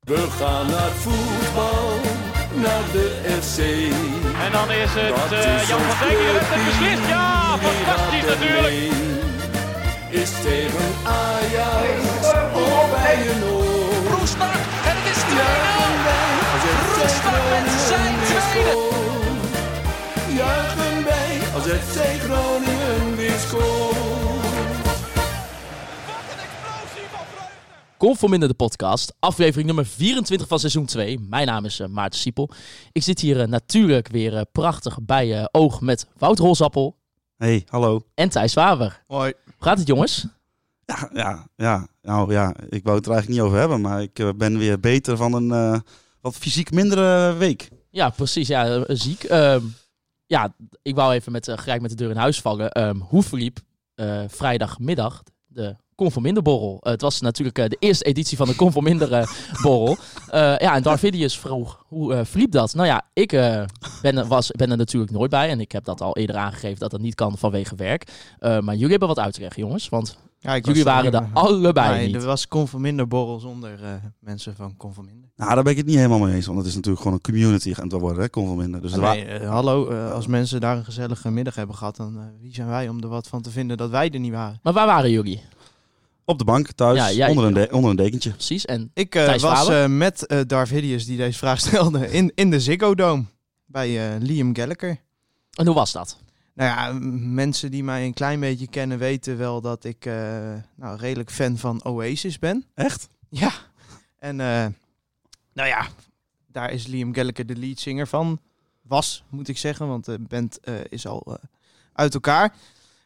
We gaan naar het voetbal, naar de FC. En dan is het Dat eh, is Jan ons van Dijk die heeft het clubteam, beslist. Ja, die fantastisch gaat ermee. natuurlijk. Is tegen Ajax of bij een oor. Roestak en het is 2-0. Als het Roestak met zijn tweede. Juichen wij als het FC Groningen weer scoort. Kom voor Minder de podcast, aflevering nummer 24 van seizoen 2. Mijn naam is eh, Maarten Siepel. Ik zit hier eh, natuurlijk weer eh, prachtig bij eh, Oog met Wout Holsappel Hey, hallo. en Thijs Waver. Hoi. Hoe gaat het jongens? Ja, ja, ja. Nou ja, ik wou het er eigenlijk niet over hebben, maar ik eh, ben weer beter van een eh, wat fysiek mindere week. Ja, precies. Ja, eh, ziek. Ehm, ja, ik wou even met, eh, gelijk met de deur in huis vallen. Ehm, hoe verliep eh, vrijdagmiddag de Conforminder borrel? Eh, het was natuurlijk eh, de eerste editie van de Conforminder eh, borrel. Eh, ja, en Darvidius vroeg, hoe eh, verliep dat? Nou ja, ik eh, ben, er, was, ben er natuurlijk nooit bij. En ik heb dat al eerder aangegeven dat dat niet kan vanwege werk. Eh, maar jullie hebben wat uit te leggen, jongens. Want Ja, ik jullie was waren er allebei Nee, niet. er was Conforminder borrel zonder eh, mensen van Conforminder. Nou, daar ben ik het niet helemaal mee eens, want het is natuurlijk gewoon een community aan het worden, hè, kon van minder. Dus er wa- nee, eh, hallo, eh, als mensen daar een gezellige middag hebben gehad, dan eh, wie zijn wij om er wat van te vinden dat wij er niet waren? Maar waar waren jullie? op de bank, thuis, Ja, jij- onder, een de- onder een dekentje. Precies. En Ik eh, Thijs was Faber? eh, met eh Darth Hideous die deze vraag stelde in, in de Ziggo Dome bij eh, Liam Gallagher. en hoe was dat? Nou ja, m- mensen die mij een klein beetje kennen weten wel dat ik eh, nou, redelijk fan van Oasis ben. Echt? Ja. En eh, nou ja, daar is Liam Gallagher de leadzanger van. Was, moet ik zeggen, want de band eh, is al eh, uit elkaar.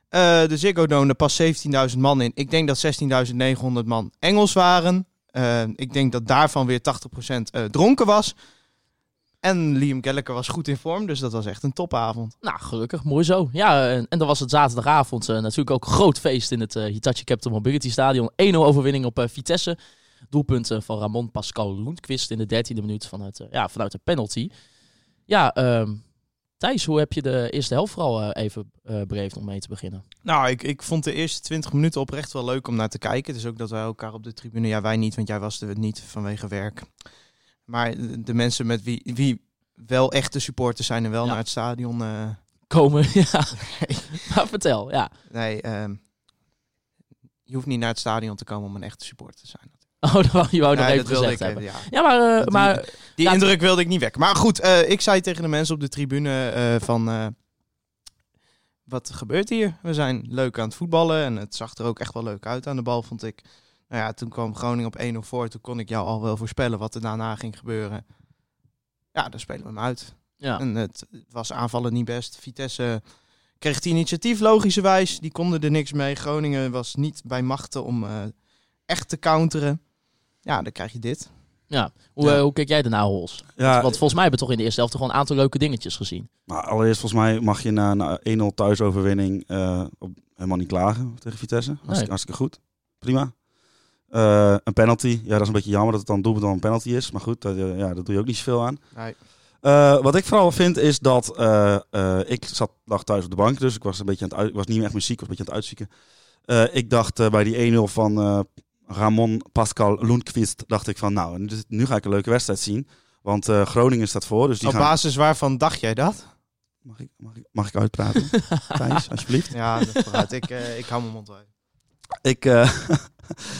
Eh, de Ziggo Dome, daar past 17.000 man in. Ik denk dat 16.900 man Engels waren. Eh, ik denk dat daarvan weer 80% eh, dronken was. En Liam Gallagher was goed in vorm, dus dat was echt een topavond. Nou, gelukkig, mooi zo. Ja, en, en dan was het zaterdagavond eh, natuurlijk ook groot feest in het eh, Hitachi Capital Mobility Stadion. 1-0 overwinning op eh, Vitesse. Doelpunten van Ramon Pascal Lundqvist in de 13e minuut vanuit, eh, ja, vanuit de penalty. Ja, ehm, Thijs, hoe heb je de eerste helft vooral eh, even eh beleefd om mee te beginnen? Nou, ik, ik vond de eerste 20 minuten oprecht wel leuk om naar te kijken. Het is ook dat wij elkaar op de tribune. Ja, wij niet, want jij was er niet vanwege werk. Maar de, de mensen met wie, wie wel echte supporters zijn en wel Ja. naar het stadion. eh, Komen, ja. maar vertel, ja. nee, ehm, je hoeft niet naar het stadion te komen om een echte supporter te zijn. Oh, dat wou je wou nog Nee, even wilde gezegd ik, eh, hebben. ja. Ja, maar, eh, die- maar Die Ja. indruk wilde ik niet weg. Maar goed, eh, ik zei tegen de mensen op de tribune eh, van... eh, wat gebeurt hier? We zijn leuk aan het voetballen. En het zag er ook echt wel leuk uit aan de bal, vond ik. Nou ja, toen kwam Groningen op 1-0 voor. Toen kon ik jou al wel voorspellen wat er daarna ging gebeuren. Ja, dan spelen we hem uit. ja. En het was aanvallen niet best. Vitesse kreeg het initiatief, logischerwijs. Die konden er niks mee. Groningen was niet bij machten om eh, echt te counteren. Ja, dan krijg je dit. Hoe, eh, hoe kijk jij daarna, Hols? Ah, Ja, Want volgens mij hebben we toch in de eerste helft toch gewoon een aantal leuke dingetjes gezien. maar allereerst volgens mij mag je na een 1-0 thuisoverwinning eh, op, helemaal niet klagen tegen Vitesse. Hartstikke, Nee. hartstikke goed. Prima. Eh, een penalty. Ja, dat is een beetje jammer dat het dan doelpunt dan een penalty is. Maar goed, dat, eh, ja, daar doe je ook niet zoveel aan. Nee. Eh, wat ik vooral vind is dat eh, eh, ik zat, lag thuis op de bank, dus ik was een beetje aan het uit, ik was niet meer echt muziek, was een beetje aan het uitzieken. Eh, ik dacht eh, bij die 1-0 van eh, Ramon Pascal Lundqvist, dacht ik van nou, nu- nu ga ik een leuke wedstrijd zien, want eh, Groningen staat voor, dus die Op gaan... basis waarvan dacht jij dat? Mag ik, mag ik, mag ik uitpraten, Thijs, alsjeblieft? Ja, dat vooruit. ik, eh, ik hou mijn mond uit. Ik, eh,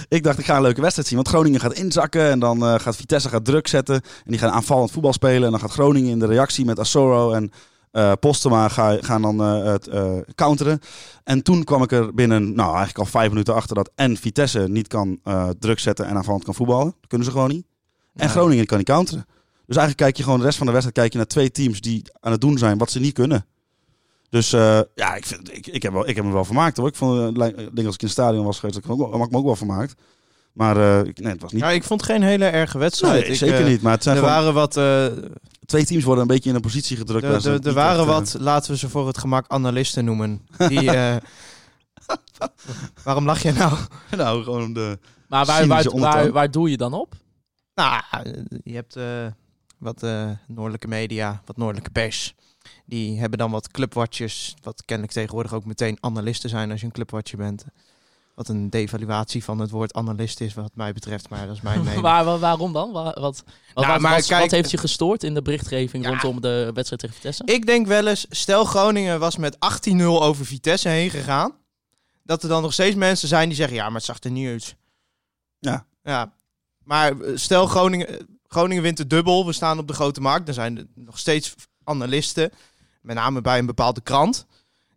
ik dacht, ik ga een leuke wedstrijd zien. Want Groningen gaat inzakken en dan eh, gaat Vitesse gaat druk zetten. En die gaan aanvallend voetbal spelen. En dan gaat Groningen in de reactie met Asoro en eh, Postema ga, gaan dan eh, het eh, counteren. En toen kwam ik er binnen, nou eigenlijk al vijf minuten achter dat en Vitesse niet kan eh, druk zetten en aanvallend kan voetballen. Dat kunnen ze gewoon niet. En Groningen kan niet counteren. Dus eigenlijk kijk je gewoon de rest van de wedstrijd kijk je naar twee teams die aan het doen zijn wat ze niet kunnen. Dus eh, ja, ik, vind, ik, ik, heb wel, ik heb me wel vermaakt hoor. Ik vond, eh, lij- ik denk als ik in het stadion was geweest, dat ik, me ook wel- had ik me ook wel vermaakt. Maar eh, ik- nee, het was niet. Nou, ik vond geen hele erge wedstrijd. Nee, Ik, zeker eh, niet. Maar het zijn Er gewoon, waren wat, eh, twee teams worden een beetje in een positie gedrukt. de- waar ze de- er niet waren echt, eh, wat, laten we ze voor het gemak analisten noemen. Die, eh, waarom lach jij nou? nou, gewoon de. Maar waar, waar, Cynische waar, ondertoon. waar, waar doe je dan op? Nou, je hebt eh, wat eh, noordelijke media, wat noordelijke pers. Die hebben dan wat clubwatchers, wat kennelijk tegenwoordig ook meteen analisten zijn als je een clubwatcher bent. Wat een devaluatie van het woord analist is, wat mij betreft. Maar dat is mijn mening. Waar- waar- waarom dan? Wa- Wat, wat, wat, Nou, maar wat- kijk- wat heeft je gestoord in de berichtgeving Ja. rondom de wedstrijd tegen Vitesse? Ik denk wel eens, stel Groningen was met 18-0 over Vitesse heen gegaan. Dat er dan nog steeds mensen zijn die zeggen, ja, maar het zag er niet uit. Ja. ja. Maar eh, stel Groningen, eh, Groningen wint de dubbel, we staan op de grote markt. Dan zijn er nog steeds analisten, met name bij een bepaalde krant.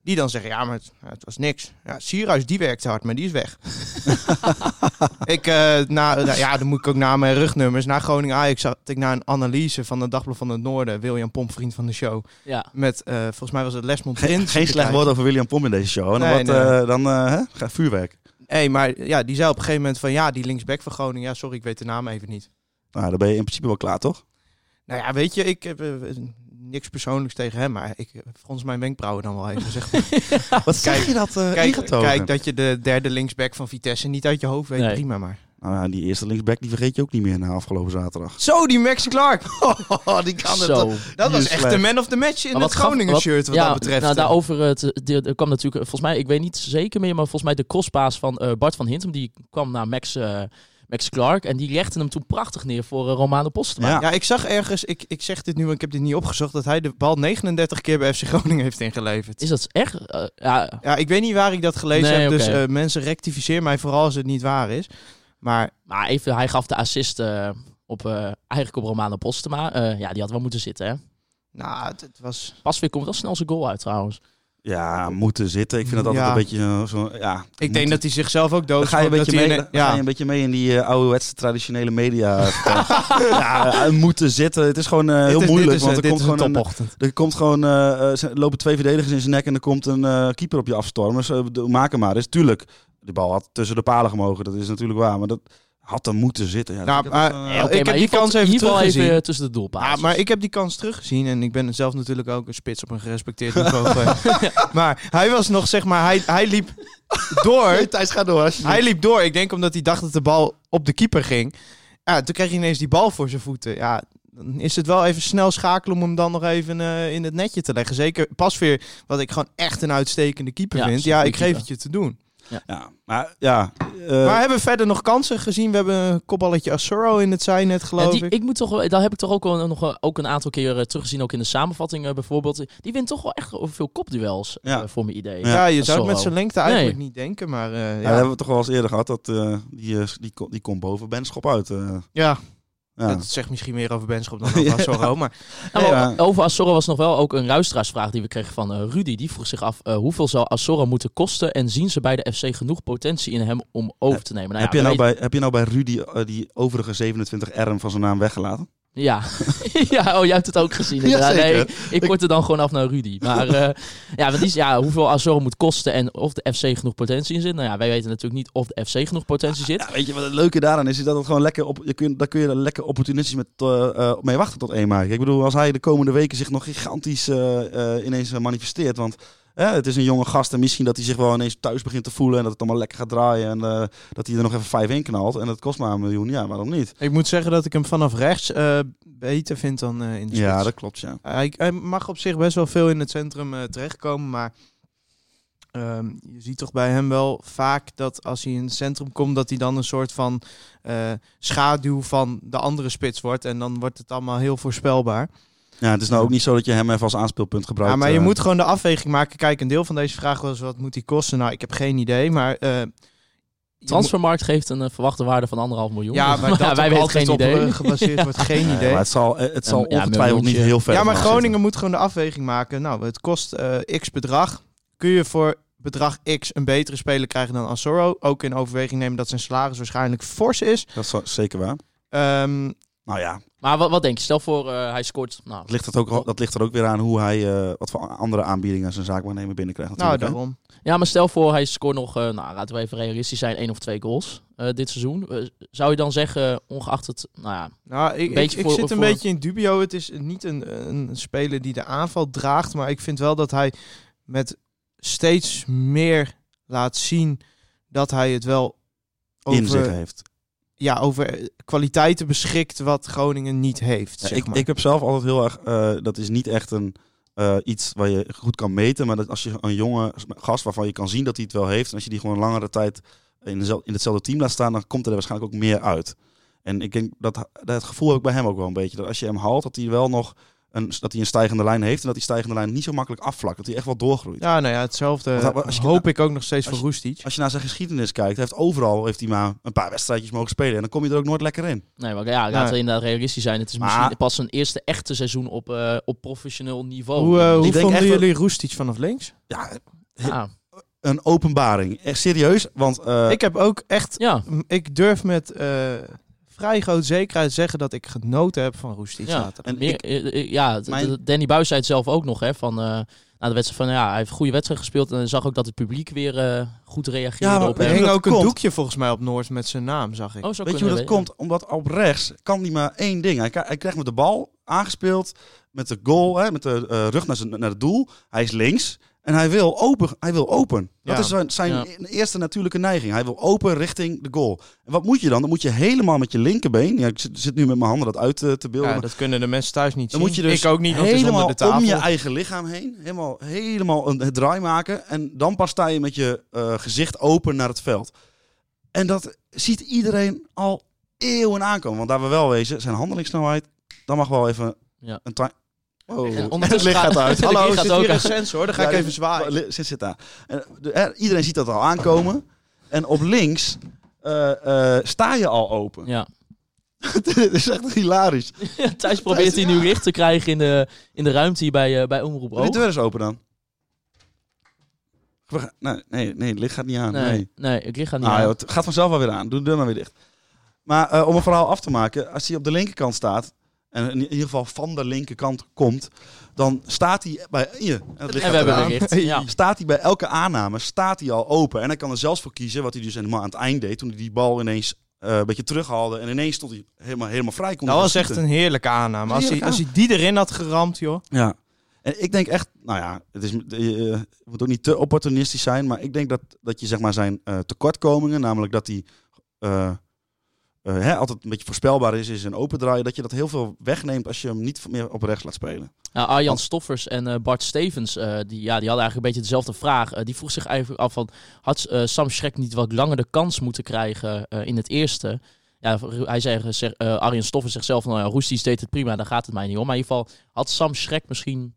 Die dan zeggen, ja, maar het, ja, het was niks. Ja, Sierhuis, die werkte hard, maar die is weg. ik, eh, na, nou ja, dan moet ik ook na mijn rugnummers. Na Groningen-Ajax zat ik naar een analyse van de Dagblad van het Noorden. William Pomp, vriend van de show Ja. met eh, volgens mij was het Lesmond Geen, Prins. geen slecht woord over William Pomp in deze show. En dan, wat, Nee, nee. eh, dan eh, hè? Ga- vuurwerk. Hey, maar ja, die zei op een gegeven moment van ja, die linksback van Groningen. Ja, sorry, ik weet de naam even niet. Nou, dan ben je in principe wel klaar, toch? Nou ja, weet je, ik heb eh, niks persoonlijks tegen hem, maar ik eh, frons mijn wenkbrauwen dan wel even. Zeg maar. Wat zeg je dat eh kijk, ingetogen? kijk dat je de derde linksback van Vitesse niet uit je hoofd weet, Nee. prima maar. Nou ja, die eerste linksback die vergeet je ook niet meer na afgelopen zaterdag. Zo, die Max Clark. Oh, die kan het. Zo. toch. Dat was Useless. echt de man of the match in Maar het gaf- Groningen wat- shirt wat ja, dat betreft. Nou, daarover eh, te- de- er kwam natuurlijk, eh, volgens mij, ik weet niet zeker meer, maar volgens mij de crosspaas van eh, Bart van Hintem, die kwam naar Max, eh, Max Clark en die legde hem toen prachtig neer voor eh, Romano Postema. Ja. ja, ik zag ergens, ik, ik zeg dit nu, maar ik heb dit niet opgezocht, dat hij de bal 39 keer bij FC Groningen heeft ingeleverd. Is dat echt? Eh, ja, Ja, ik weet niet waar ik dat gelezen Nee, heb. Dus oké. eh, mensen, rectificeer mij vooral als het niet waar is. Maar maar even, hij gaf de assist eh, op, eh, eigenlijk op Romano Postema. Eh, ja, die had wel moeten zitten, hè. nou, het, het was... Pas weer komt wel snel zijn goal uit, trouwens. Ja, moeten zitten. Ik vind dat altijd Ja. een beetje zo... zo- ja, Ik moeten. denk dat hij zichzelf ook dood Dan ga, je een beetje mee, dan ga je ja. een beetje mee in die oude ouderwetse traditionele media. ja, eh, moeten zitten. Het is gewoon eh, heel Dit is- moeilijk. dit is, want eh, er dit komt is een gewoon een, topochtend. er komt gewoon, eh, eh, ze- lopen twee verdedigers in zijn nek en er komt een eh, keeper op je afstormen. Dus, eh, de- maak hem maar eens. Tuurlijk, de bal had tussen de palen gemogen. Dat is natuurlijk waar. Maar dat had er moeten zitten. Ja, Nou, dat- dat- maar- eh, Eh, oké, ik heb maar die hier kans valt- even hier wel teruggezien. even tussen de doelpaas. Ah, maar ik heb die kans teruggezien en ik ben zelf natuurlijk ook een spits op een gerespecteerd niveau. Eh, Maar hij was nog, zeg maar, hij, hij liep door. Thijs, ga door. Hij liep door, ik denk omdat hij dacht dat de bal op de keeper ging. Ja, toen kreeg hij ineens die bal voor zijn voeten. Ja, dan is het wel even snel schakelen om hem dan nog even eh, in het netje te leggen. Zeker Pasveer, wat ik gewoon echt een uitstekende keeper Ja, vind. is een Ja, goede ik geef keeper. het je te doen. Ja, maar ja. eh, maar hebben we verder nog kansen gezien? We hebben een kopballetje Asoro in het zijnet, Ja, geloof die, ik. ik moet toch, wel- daar heb ik toch ook wel nog wel- ook een aantal keer eh, teruggezien, ook in de samenvatting eh, bijvoorbeeld. Die wint toch wel echt veel kopduels, eh, Ja. voor mijn idee. Ja, je zou het Asoro. met zijn lengte eigenlijk Nee. niet denken, maar eh, ja, dat ja. hebben we toch wel eens eerder gehad. Dat, eh, die, eh, die, ko- die komt boven Benschop uit. eh. Ja, ja. dat zegt misschien meer over Benschop dan over Asoro. Maar Nou, maar Ja. Over Asoro was nog wel ook een luisteraarsvraag die we kregen van eh, Rudy. Die vroeg zich af, eh, hoeveel zou Asoro moeten kosten en zien ze bij de FC genoeg potentie in hem om over te nemen? heb, ja, je nou we bij, heb je nou bij Rudy eh, die overige 27 RM van zijn naam weggelaten? weten- Ja. ja, oh, jij hebt het ook gezien. inderdaad. nee, Jazeker. ik, ik kort er dan gewoon af naar Rudy. Maar eh, ja, want die is, ja, hoeveel Asoro moet kosten en of de FC genoeg potentie in zit. Nou ja, wij weten natuurlijk niet of de FC genoeg potentie zit. Ja, weet je wat het leuke daaraan is? is dat het gewoon lekker op, je kunt, daar kun je er lekker opportunistisch met, eh, eh, mee wachten tot 1 maart. Ik bedoel, als hij de komende weken zich nog gigantisch eh, eh, ineens eh, manifesteert. Want eh, het is een jonge gast en misschien dat hij zich wel ineens thuis begint te voelen. En dat het allemaal lekker gaat draaien. En eh, dat hij er nog even vijf in knalt. En dat kost maar een miljoen. Ja, waarom niet? ik moet zeggen dat ik hem vanaf rechts eh, beter vind dan eh, in de spits. Ja, dat klopt, ja. Hij, hij mag op zich best wel veel in het centrum eh, terechtkomen, maar ehm, je ziet toch bij hem wel vaak dat als hij in het centrum komt, dat hij dan een soort van eh, schaduw van de andere spits wordt. En dan wordt het allemaal heel voorspelbaar. Ja, het is nou ook niet zo dat je hem even als aanspeelpunt gebruikt. Ja, maar je eh, moet gewoon de afweging maken. Kijk, een deel van deze vraag was wat moet die kosten? Nou, ik heb geen idee, maar... eh, je Transfermarkt geeft een eh, verwachte waarde van anderhalf miljoen. moet- ja, maar dat Ja, wij ook weten altijd geen op idee. eh, gebaseerd wordt geen Nee, idee. maar het zal, eh, het zal Ja, maar ongetwijfeld niet miljoentje. heel ver Ja, maar vanaf Groningen moet gewoon de afweging maken. Nou, het kost eh, x bedrag. Kun je voor bedrag x een betere speler krijgen dan Asoro? Ook in overweging nemen dat zijn salaris waarschijnlijk fors is. zitten. Dat is zo- zeker waar. Ehm, Nou ja, Maar wat, wat denk je? Stel voor, eh, hij scoort. Nou, Dat ligt, dat, ook, dat ligt er ook weer aan hoe hij, eh, wat voor andere aanbiedingen zijn zaakwaarnemer binnenkrijgt nou, natuurlijk. hè. daarom. ja, maar stel voor, hij scoort nog, eh, nou, laten we even realistisch zijn, één of twee goals eh, dit seizoen. Eh, zou je dan zeggen, ongeacht het, nou ja, Nou, ik, ik, Beetje ik voor- zit een voor- beetje in dubio. Het is niet een, een speler die de aanval draagt. Maar ik vind wel dat hij met steeds meer laat zien dat hij het wel in zich over, heeft. ja, over kwaliteiten beschikt wat Groningen niet heeft. Ja, zeg ik, maar. ik heb zelf altijd heel erg, eh, dat is niet echt een, eh, iets waar je goed kan meten, maar dat als je een jonge gast waarvan je kan zien dat hij het wel heeft, en als je die gewoon langere tijd eh, in, dezel- in hetzelfde team laat staan, dan komt er waarschijnlijk ook meer uit. En ik denk dat, dat het gevoel heb ik bij hem ook wel een beetje. Dat als je hem haalt, dat hij wel nog een, dat hij een stijgende lijn heeft. En dat die stijgende lijn niet zo makkelijk afvlakt. Dat hij echt wel doorgroeit. Ja, nou ja, hetzelfde Want als je- hoop ik ook nog steeds als voor Roestic. Als je naar zijn geschiedenis kijkt, heeft overal heeft hij maar een paar wedstrijdjes mogen spelen. En dan kom je er ook nooit lekker in. Nee, maar ja, laten Nee. we inderdaad realistisch zijn. Het is Maar- misschien pas zijn eerste echte seizoen op, eh, op professioneel niveau. Hoe, eh, hoe denk vonden echt dat- jullie Roestic vanaf links? Ja, ja, een openbaring. Echt serieus. Want eh, Ik heb ook echt... ja, m, Ik durf met eh, vrij groot zekerheid zeggen dat ik genoten heb van Roestic Ja. zaterdag. en meer- ik- eh, eh, ja d- Mijn- d- Danny Buis zei het zelf ook nog. Hè, van, eh, na de wedstrijd van, ja, hij heeft een goede wedstrijd gespeeld. En zag ook dat het publiek weer eh, goed reageerde Ja, maar op weet hem. Er je hing hoe ook dat een komt? doekje volgens mij op Noord met zijn naam, zag ik. Oh, zou weet je kunnen, hoe dat komt? Omdat op rechts kan hij maar één ding. Hij, k- hij krijgt met de bal aangespeeld, met de goal, hè, met de eh, rug naar, zijn, naar het doel. Hij is links en hij wil open. Hij wil open. Dat Ja. is zijn, zijn Ja. e- eerste natuurlijke neiging. Hij wil open richting de goal. En wat moet je dan? Dan moet je helemaal met je linkerbeen. Ja, ik zit, zit nu met mijn handen dat uit eh, te beelden. Ja, maar dat kunnen de mensen thuis niet Dan zien. moet je dus ik ook niet, want het is onder helemaal de tafel. om je eigen lichaam heen. Helemaal, helemaal een, het draai maken. En dan pas sta je met je eh, gezicht open naar het veld. En dat ziet iedereen al eeuwen aankomen. Want daar we wel wezen, zijn handelingssnelheid. Dan mag wel even Ja. een time... Oh, En het ondertussen licht gaat gaat- uit. De Hallo, keer er gaat zit ook hier een aan. sensor, dan ga ik Ja, even zwaaien. li- Zit, zit daar. En de- eh, iedereen ziet dat al aankomen. En op links eh, eh, sta je al open. Ja. Dit is echt hilarisch. Thijs probeert hij nu licht te krijgen in de, in de ruimte hier bij, eh bij Omroep Doe die Oog. deur eens open dan. We gaan- nee, nee, nee, het licht gaat niet aan. Nee. Nee, nee, ik licht gaat niet Ah, aan. joh, het gaat vanzelf wel weer aan. Doe de deur maar weer dicht. Maar eh, om een verhaal af te maken, als hij op de linkerkant staat, en in ieder geval van de linkerkant komt, dan staat hij bij je. En, En het licht we gaat hebben eraan. weer licht. Ja. Staat hij bij elke aanname, staat hij al open. En hij kan er zelfs voor kiezen, wat hij dus helemaal aan het eind deed, toen hij die bal ineens eh, een beetje terughaalde. En ineens stond hij helemaal, helemaal vrij. Kon Dat hij was gaan echt schieten. een heerlijke aanname. Als hij, Heerlijke als hij die erin had geramd, joh. Ja. En ik denk echt, nou ja, het is, je eh, moet ook niet te opportunistisch zijn, maar ik denk dat, dat je zeg maar zijn eh, tekortkomingen, namelijk dat hij eh, eh, hè, altijd een beetje voorspelbaar is, is en opendraaien, dat je dat heel veel wegneemt als je hem niet meer op rechts laat spelen. Nou, Arjan Stoffers en eh, Bart Stevens, eh, die, ja, die hadden eigenlijk een beetje dezelfde vraag. Eh, die vroeg zich eigenlijk af van, had eh, Sam Schrek niet wat langer de kans moeten krijgen eh, in het eerste? Ja, hij zei, zeg, eh, Arjan Stoffers zegt zelf, nou ja, Roesties deed het prima, daar gaat het mij niet om. Maar in ieder geval, had Sam Schrek misschien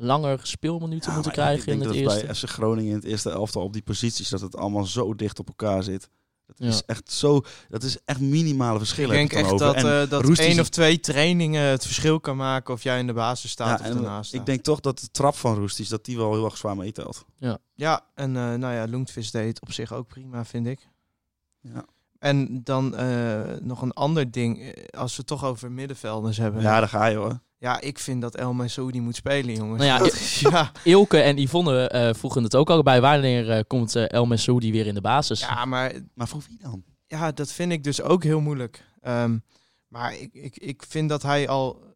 langer speelminuten moeten maar ik krijgen denk in het dat eerste? bij FC Groningen in het eerste elftal op die posities, dat het allemaal zo dicht op elkaar zit. Dat Ja. is echt zo, dat is echt minimale Ik verschillen. heb denk het dan echt over. dat, En- eh, dat Roest is één een- of twee trainingen het verschil kan maken of jij in de basis staat ja, of en ernaast staat. ik denk toch dat de trap van Roesties, dat die wel heel erg zwaar meetelt. Ja, en eh, nou ja, Loentvis deed het op zich ook prima, vind ik. Ja. En dan eh, nog een ander ding, eh, als we het toch over middenvelders hebben. Ja, daar ga je hoor. Ja, ik vind dat El Saoudi moet spelen, jongens. Nou ja, Dat is- ja. Ilke en Yvonne eh, vroegen het ook al bij, wanneer eh, komt eh, El Messoudi weer in de basis? ja, maar Maar voor wie dan? ja, dat vind ik dus ook heel moeilijk. Ehm, maar ik, ik, ik vind dat hij al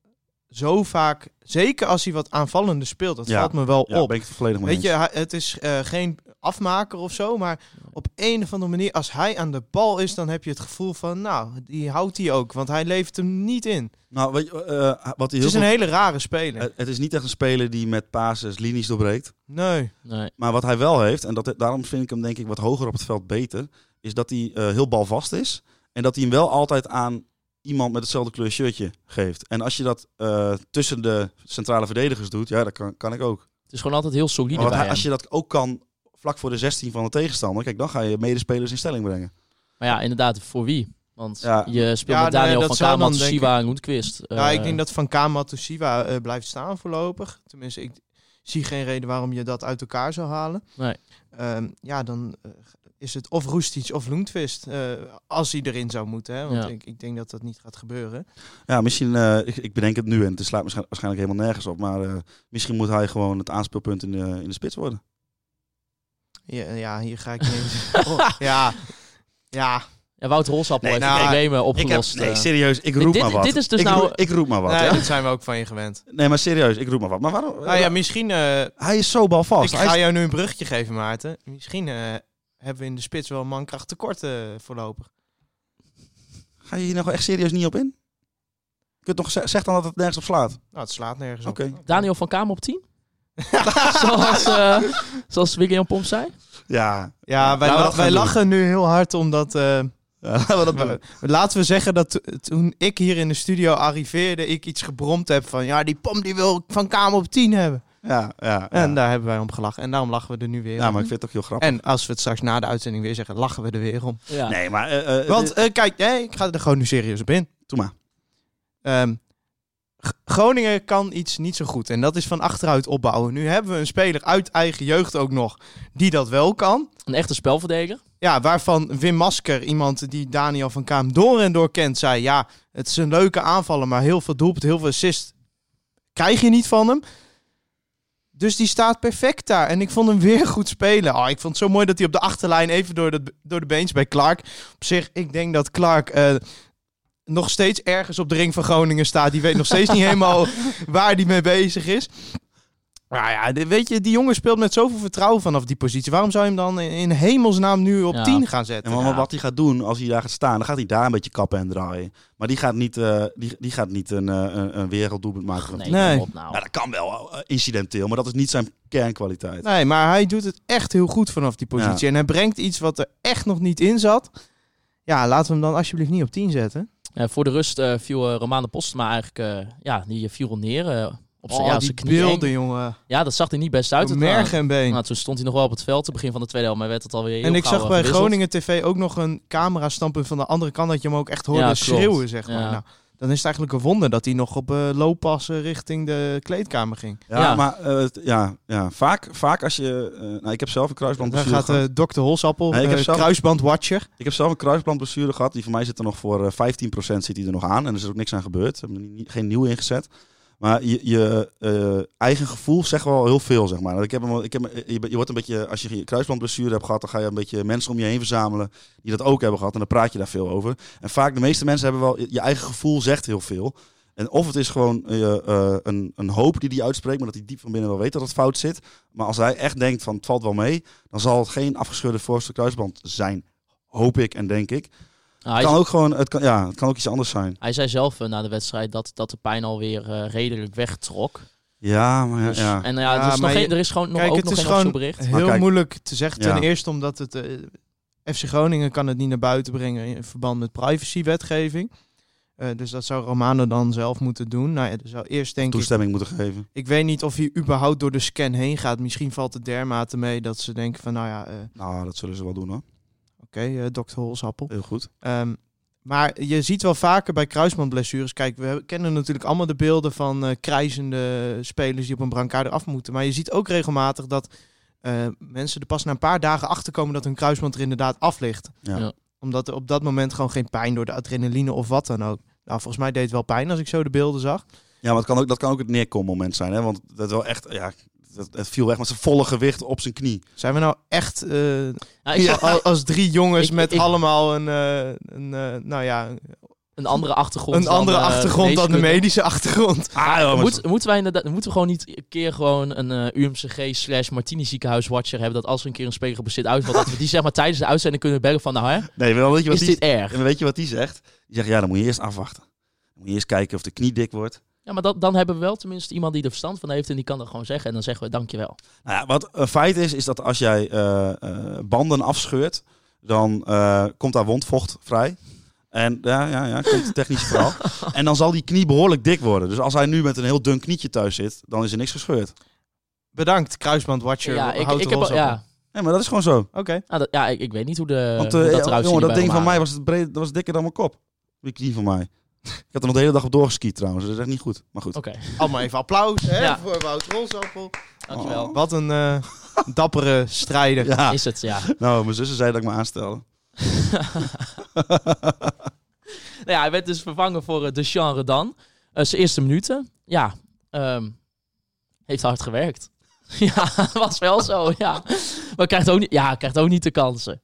zo vaak, zeker als hij wat aanvallende speelt, dat Ja. valt me wel Ja, op. ben ik het volledig mee Weet eens. je, hij- het is eh, geen afmaker of zo, maar op een of andere manier, als hij aan de bal is, dan heb je het gevoel van, nou, die houdt hij ook, want hij levert hem niet in. Nou, weet je, eh, wat hij Het heel is een veel- hele rare speler. Eh, het is niet echt een speler die met pases linies doorbreekt. Nee. Nee. Maar wat hij wel heeft, en dat, daarom vind ik hem denk ik wat hoger op het veld beter, is dat hij eh, heel balvast is. En dat hij hem wel altijd aan iemand met hetzelfde kleur shirtje geeft. En als je dat eh, tussen de centrale verdedigers doet, ja, dat kan, kan ik ook. Het is gewoon altijd heel solide Maar wat bij hij- hem. als je dat ook kan vlak voor de 16 van de tegenstander, kijk, dan ga je medespelers in stelling brengen. Maar ja, inderdaad, voor wie? Want Ja. je speelt Ja, met nou ja, Daniel dat van zou Kamer, dan, denk Siwa en Eh, Roetquist. ja, ik denk dat Van Kama Toshiba eh, blijft staan voorlopig. Tenminste, ik zie geen reden waarom je dat uit elkaar zou halen. Nee. Ehm, ja, dan eh, is het of Roestic of Loentwist, eh, als hij erin zou moeten. Hè? Want Ja. ik, ik denk dat dat niet gaat gebeuren. Ja, misschien, eh, ik, ik bedenk het nu en het slaat waarschijn- waarschijnlijk helemaal nergens op. Maar eh, misschien moet hij gewoon het aanspeelpunt in de, in de spits worden. Ja, ja hier ga ik niet eens- Oh, ja, ja. Ja, Wout Rolsappel Nee, heeft nou, de problemen Ik opgelost. nee, eh. serieus, ik Dit- roep dit- maar wat. dit is dus ik, nou- roep, ik roep maar wat. nee, hè? dat zijn we ook van je gewend. Nee, maar serieus, ik roep maar wat. Maar waarom? Nou ja, misschien... eh, hij is zo balvast. ik Oh, Hij ga is- jou nu een bruggetje geven, Maarten. Misschien eh, hebben we in de spits wel een mankracht tekort eh, voorlopig. Ga je hier nou echt serieus niet op in? Je kunt toch, zeg zeg dan dat het nergens op slaat. Nou, het slaat nergens op. Oké. Daniel van Kamer op 10? zoals, eh zoals William Pomp zei. Ja, Ja, wij, Nou, Laten we la- dat gaan wij doen. lachen nu heel hard omdat... eh, Ja, laten we dat doen. we- laten we zeggen dat to- toen ik hier in de studio arriveerde, ik iets gebromd heb van... Ja, die pom die wil ik van kamer op 10 hebben. Ja, ja, ja. En eh, daar hebben wij om gelachen. En daarom lachen we er nu weer ja, om. maar ik vind het ook heel grappig. En als we het straks na de uitzending weer zeggen, lachen we er weer om. Ja. Nee, maar... eh, eh, Want eh, eh, kijk, nee, ik ga er gewoon nu serieus op in. doe maar. Ehm, G- Groningen kan iets niet zo goed. En dat is van achteruit opbouwen. Nu hebben we een speler uit eigen jeugd ook nog die dat wel kan. Een echte spelverdediger. Ja, waarvan Wim Masker, iemand die Daniel van Kaam door en door kent, zei... Ja, het is een leuke aanvaller, maar heel veel doelpunt, heel veel assist krijg je niet van hem. Dus die staat perfect daar. En ik vond hem weer goed spelen. Ah, ik vond het zo mooi dat hij op de achterlijn even door de, door de beens bij Clark. Op zich, ik denk dat Clark eh, nog steeds ergens op de ring van Groningen staat. Die weet nog steeds niet helemaal waar hij mee bezig is. Nou ja, de- weet je, die jongen speelt met zoveel vertrouwen vanaf die positie. Waarom zou je hem dan in- in hemelsnaam nu op Ja. 10 gaan En zetten? wat- wat hij gaat doen als hij daar gaat staan, dan gaat hij daar een beetje kappen en draaien. Maar die gaat niet, eh, die, die gaat niet een, eh, een, een werelddoelpunt maken. van Nee, tien. Nee. kom op nou. Nou, dat kan wel eh, incidenteel, maar dat is niet zijn kernkwaliteit. Nee, maar hij doet het echt heel goed vanaf die positie. En hij brengt iets wat er echt nog niet in zat. Ja, laten we hem dan alsjeblieft niet op 10 zetten. Eh, voor de rust eh, viel eh, Romane Postma eigenlijk... eh, ja, die viel neer eh, op zijn, ja, op Oh, die zijn knieën. beelden, jongen. Ja, dat zag er niet best uit. Op Het merg en been. waren- nou, toen stond hij nog wel op het veld, het begin van de tweede helft, maar werd het alweer heel en ik gauw, zag eh, bij gewisseld. Groningen TV ook nog een camera-standpunt van de andere kant... dat je hem ook echt hoorde Ja, klopt. schreeuwen, zeg maar. Ja. Nou, dan is het eigenlijk een wonder dat hij nog op eh looppassen richting de kleedkamer ging. Ja, Ja. maar eh, het- ja, ja. Vaak, vaak als je... eh, nou, ik heb zelf een Daar kruisbandblessure gaat eh gehad. Dr. Holsappel, Nee, ik heb eh, zelf- kruisbandwatcher. Ik heb zelf een kruisbandblessure gehad. Die van mij zit er nog voor eh, 15% zit die er nog aan. En er is ook niks aan gebeurd. Ik heb er niet- geen nieuwe ingezet. Maar je, je eh, eigen gevoel zegt wel heel veel, zeg maar. Ik heb hem, wel- ik heb, hem- je, je wordt een beetje, als je je kruisbandblessure hebt gehad, dan ga je een beetje mensen om je heen verzamelen die dat ook hebben gehad. En dan praat je daar veel over. En vaak, de meeste mensen hebben wel, je- je eigen gevoel zegt heel veel. En of het is gewoon eh, eh, een, een hoop die die uitspreekt, maar dat hij diep van binnen wel weet dat het fout zit. Maar als hij echt denkt van het valt wel mee, dan zal het geen afgescheurde voorste kruisband zijn. Hoop ik en denk ik. Nou, Het hij, kan ook gewoon, het kan, ja, het kan ook iets anders zijn. hij zei zelf eh, na de wedstrijd dat, dat de pijn alweer eh, redelijk wegtrok. Ja, maar ja, Dus- ja. En ja, Ja, er, is nog maar je- geen, er is gewoon nog, Kijk, ook het nog is geen gewoon- officieel bericht. Heel kijk- moeilijk te zeggen. Ten Ja. eerste omdat het... eh, FC Groningen kan het niet naar buiten brengen in verband met privacywetgeving. Eh, dus dat zou Romano dan zelf moeten doen. Nou ja, dus zou eerst denk ik... toestemming moeten geven. Ik weet niet of hij überhaupt door de scan heen gaat. Misschien valt het dermate mee dat ze denken van, nou ja, eh, Nou, dat zullen ze wel doen hoor. oké, eh, dokter Holsappel. Heel goed. Ehm, maar je ziet wel vaker bij kruisbandblessures. Kijk, we hebben- kennen natuurlijk allemaal de beelden van eh krijzende spelers die op een brancard eraf moeten. Maar je ziet ook regelmatig dat eh, mensen er pas na een paar dagen achterkomen dat hun kruisband er inderdaad af ligt. Ja. Ja. Omdat er op dat moment gewoon geen pijn door de adrenaline of wat dan ook. Nou, volgens mij deed het wel pijn als ik zo de beelden zag. Ja, maar het kan ook, dat kan ook het neerkommoment zijn. Hè? Want dat wel echt, ja, dat, het viel weg met zijn volle gewicht op zijn knie. Zijn we nou echt eh, Nou, ik zag Al- als, drie jongens Ik- met ik- allemaal een, eh, een eh, nou ja, een andere achtergrond. een dan, andere eh, achtergrond dan de geneeskunde. medische achtergrond. Ah, joh, maar Moet, moeten wij inderdaad, moeten we gewoon niet een keer gewoon een eh, UMCG slash Martini ziekenhuiswatcher hebben dat als er een keer een speler geblesseerd uitvalt, dat we die zeg maar tijdens de uitzending kunnen bellen van nou hè, nee, wel, weet je wat is die, dit erg? en weet je wat die zegt? Die zegt, ja, dan moet je eerst afwachten. Dan moet je eerst kijken of de knie dik wordt. Ja, maar dat, dan hebben we wel tenminste iemand die er verstand van heeft en die kan dat gewoon zeggen en dan zeggen we dankjewel. Nou ja, wat een feit is, is dat als jij eh, eh, banden afscheurt, dan eh, komt daar wondvocht vrij. En ja, ja, ja, komt technisch verhaal. En dan zal die knie behoorlijk dik worden. Dus als hij nu met een heel dun knietje thuis zit, dan is er niks gescheurd. Bedankt, Kruisband Watcher. ja, ik, Houd ik de heb rols al- op. ja, Nee, maar dat is gewoon zo. Oké. nou, dat- ja ik, ik weet niet hoe de Want hoe eh, dat eruit ziet jongen, dat bij ding van Romano. mij was, het breed, dat was dikker dan mijn kop. Die knie van mij. Ik had er nog de hele dag op doorgeskiet trouwens. dus Dat is echt niet goed. Maar goed. Oké, Allemaal even applaus hè, Ja. voor Wout Rolsappel. dankjewel. Oh. Wat een eh, dappere strijder. Ja, Is het, ja. nou, mijn zussen zei dat ik me aanstelde. Nou ja, hij werd dus vervangen voor eh, Dejan Redan. Eh, zijn eerste minuten. Ja, ehm, heeft hard gewerkt. ja, was wel zo, ja. Maar krijgt ook niet, ja, krijgt ook niet de kansen.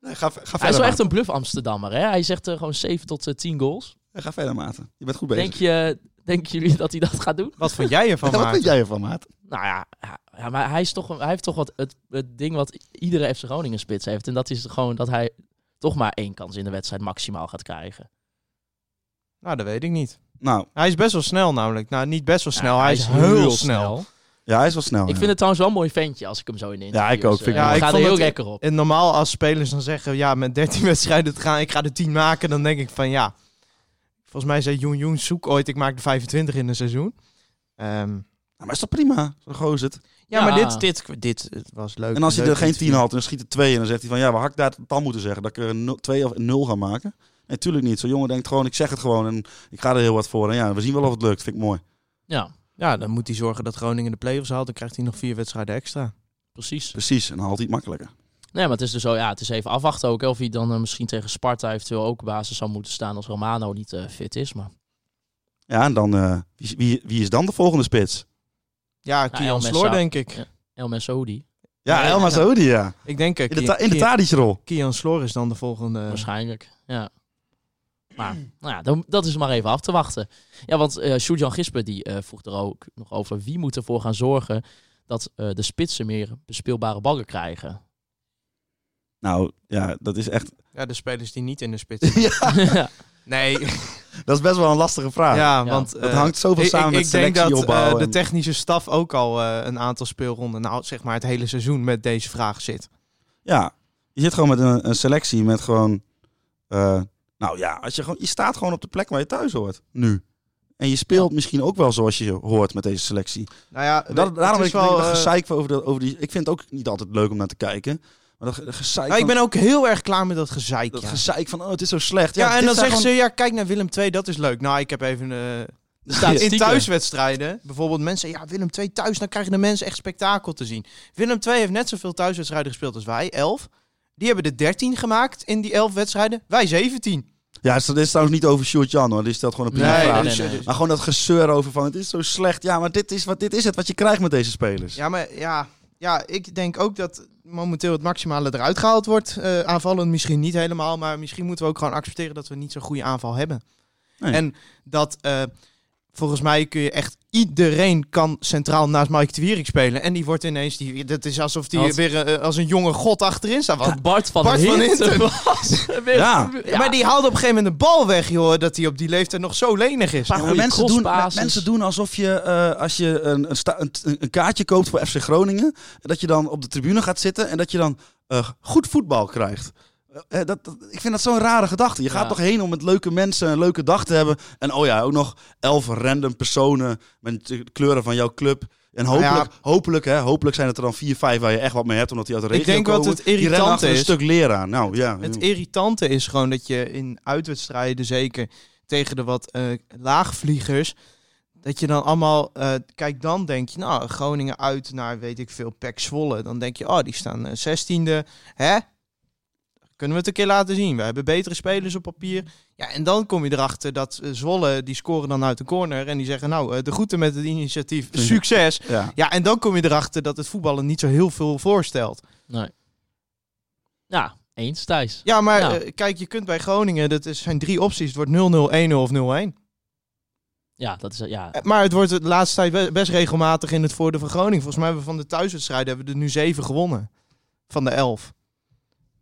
Nee, ga, ga Hij is verder, wel echt Maarten. een bluff Amsterdammer, hè. Hij zegt eh, gewoon 7 tot eh, 10 goals. Ga verder, Maarten. Je bent goed bezig. Denk je, denken jullie dat hij dat gaat doen? Wat vond jij ervan, Ja, wat Maarten? vind jij ervan, Maarten? Nou ja, ja, ja, maar hij, is toch, hij heeft toch wat het, het ding wat iedere FC Groningen spits heeft. En dat is gewoon dat hij toch maar één kans in de wedstrijd maximaal gaat krijgen. Nou, dat weet ik niet. Nou, Hij is best wel snel namelijk. Nou, niet best wel snel, Ja, hij, is heel, snel. Ja, hij is wel snel. Ik Oh, ja. vind het trouwens wel een mooi ventje als ik hem zo in de Ja, ik ook. interviews, Vind ik eh, wel. Ja, ik gaat er vond heel het- lekker op. En normaal als spelers dan zeggen, ja, met 13 wedstrijden te gaan, ik ga de 10 maken, dan denk ik van ja. Volgens mij zei Joen Joen zoek ooit, ik maak de 25 in een seizoen. Ehm, Ja, Nou, maar is toch prima? Zo goh is het. ja, Ja. maar dit, dit, dit het was leuk. En als hij Leuk er geen interview. 10 had en dan schiet er 2 en dan zegt hij van ja, maar had ik daar dan moeten zeggen dat ik er een nul- 2 of 0 ga maken? Nee, tuurlijk niet. Zo'n jongen denkt gewoon, ik zeg het gewoon en ik ga er heel wat voor. En ja, we zien wel of het lukt. Vind ik mooi. Ja, Ja, dan moet hij zorgen dat Groningen de play-offs haalt. Dan krijgt hij nog vier wedstrijden extra. precies. Precies. En dan haalt hij het makkelijker. Nee, maar het is dus zo, ja, het is even afwachten ook. hè, Of hij dan eh, misschien tegen Sparta eventueel ook basis zou moeten staan als Romano niet eh, fit is. Maar Ja, en dan, eh, wie, wie, wie is dan de volgende spits? Ja, Nou, El Kian Messa. Sloor, denk ik. Ja. El Mesoudi Ja, Ja, Elma ja. Saoudi, ja. Ik denk eh, In de, Kian- ta- in de Kian- Tadic-rol. Kian Sloor is dan de volgende. waarschijnlijk. Ja. Maar nou ja, dan, dat is maar even af te wachten. Ja, want eh Sjoerdjan Gisper die eh, vroeg er ook nog over wie moet ervoor gaan zorgen dat eh, de spitsen meer bespeelbare ballen krijgen. Nou, ja, dat is echt... Ja, de spelers die niet in de spits. ja, ja. nee, dat is best wel een lastige vraag. ja, Ja. want... Dat eh, hangt zoveel ik, samen ik, met ik denk dat selectieopbouw. eh, de en- technische staf ook al eh, een aantal speelronden, nou zeg maar het hele seizoen met deze vraag zit. Ja, je zit gewoon met een, een selectie met gewoon. eh, nou ja, als je, gewoon, je staat gewoon op de plek waar je thuis hoort. Nu. En je speelt misschien ook wel zoals je hoort met deze selectie. Nou ja, En dat, daarom het ben is ik wel eh, gezeik over, dat, over die. Ik vind het ook niet altijd leuk om naar te kijken. Maar dat ge- gezeik. nou, ik van, ben ook heel erg klaar met dat gezeik. dat ja. gezeik van, oh, het is zo slecht. ja, en dit dan zijn zeggen ze, ja, kijk naar Willem II, dat is leuk. Nou, ik heb even eh in Statistieken. thuiswedstrijden, bijvoorbeeld mensen, ja, Willem II thuis, dan krijgen de mensen echt spektakel te zien. Willem II heeft net zoveel thuiswedstrijden gespeeld als wij, 11. Die hebben er 13 gemaakt in die 11 wedstrijden, wij 17. Ja, het is- dit is trouwens niet over Sjoerd Jan hoor. Dit stelt gewoon een prima Nee, vraag. nee, dus- nee. dus- Maar gewoon dat gezeur over van, het is zo slecht. Ja, maar dit is, wat, dit is het wat je krijgt met deze spelers. Ja, maar ja, ja, ik denk ook dat momenteel het maximale eruit gehaald wordt. Eh aanvallend misschien niet helemaal, maar misschien moeten we ook gewoon accepteren dat we niet zo'n goede aanval hebben. Nee. En dat eh, volgens mij kun je echt iedereen kan centraal naast Mike de Wierik spelen. En die wordt ineens, die, dat is alsof die Wat? weer eh, als een jonge god achterin staat. Want- Bart van Bart van Hinten Hinten. was weer- Ja. Maar die haalde op een gegeven moment de bal weg, joh, dat hij op die leeftijd nog zo lenig is. Paar Ja, maar goede mensen, doen, crossbases. mensen doen alsof je, eh, als je een, een, sta- een, een kaartje koopt voor FC Groningen, dat je dan op de tribune gaat zitten en dat je dan eh, goed voetbal krijgt. Eh, eh, dat, dat- ik vind dat zo'n rare gedachte. Je Ja. gaat toch heen om met leuke mensen een leuke dag te hebben. En oh ja, ook nog elf random personen met de kleuren van jouw club. En hopelijk, Nou ja. hopelijk, hè, hopelijk zijn het er dan vier, vijf waar je echt wat mee hebt, omdat die uit de Ik regio denk wat komen. het Die rennen irritante achter is. een stuk leraar. Nou ja, Het irritante is gewoon dat je in uitwedstrijden, zeker tegen de wat eh, laagvliegers, dat je dan allemaal, eh, kijk dan denk je, nou Groningen uit naar weet ik veel, Pek Zwolle. Dan denk je, oh die staan eh, 16e, hè? Kunnen we het een keer laten zien? We hebben betere spelers op papier. Ja, en dan kom je erachter dat eh, Zwolle, die scoren dan uit de corner en die zeggen, nou eh, de groeten met het initiatief, Ja. succes. ja. Ja, en dan kom je erachter dat het voetballen niet zo heel veel voorstelt. Ja, eens Thijs. Ja, maar Ja. eh, kijk, je kunt bij Groningen, dat is, zijn drie opties. Het wordt 0-0, 1-0 of 0-1. Ja, dat is, ja, Eh, Maar het wordt de laatste tijd be- best regelmatig in het voordeel van Groningen. Volgens mij hebben we van de thuiswedstrijden hebben we er nu zeven gewonnen. Van de elf.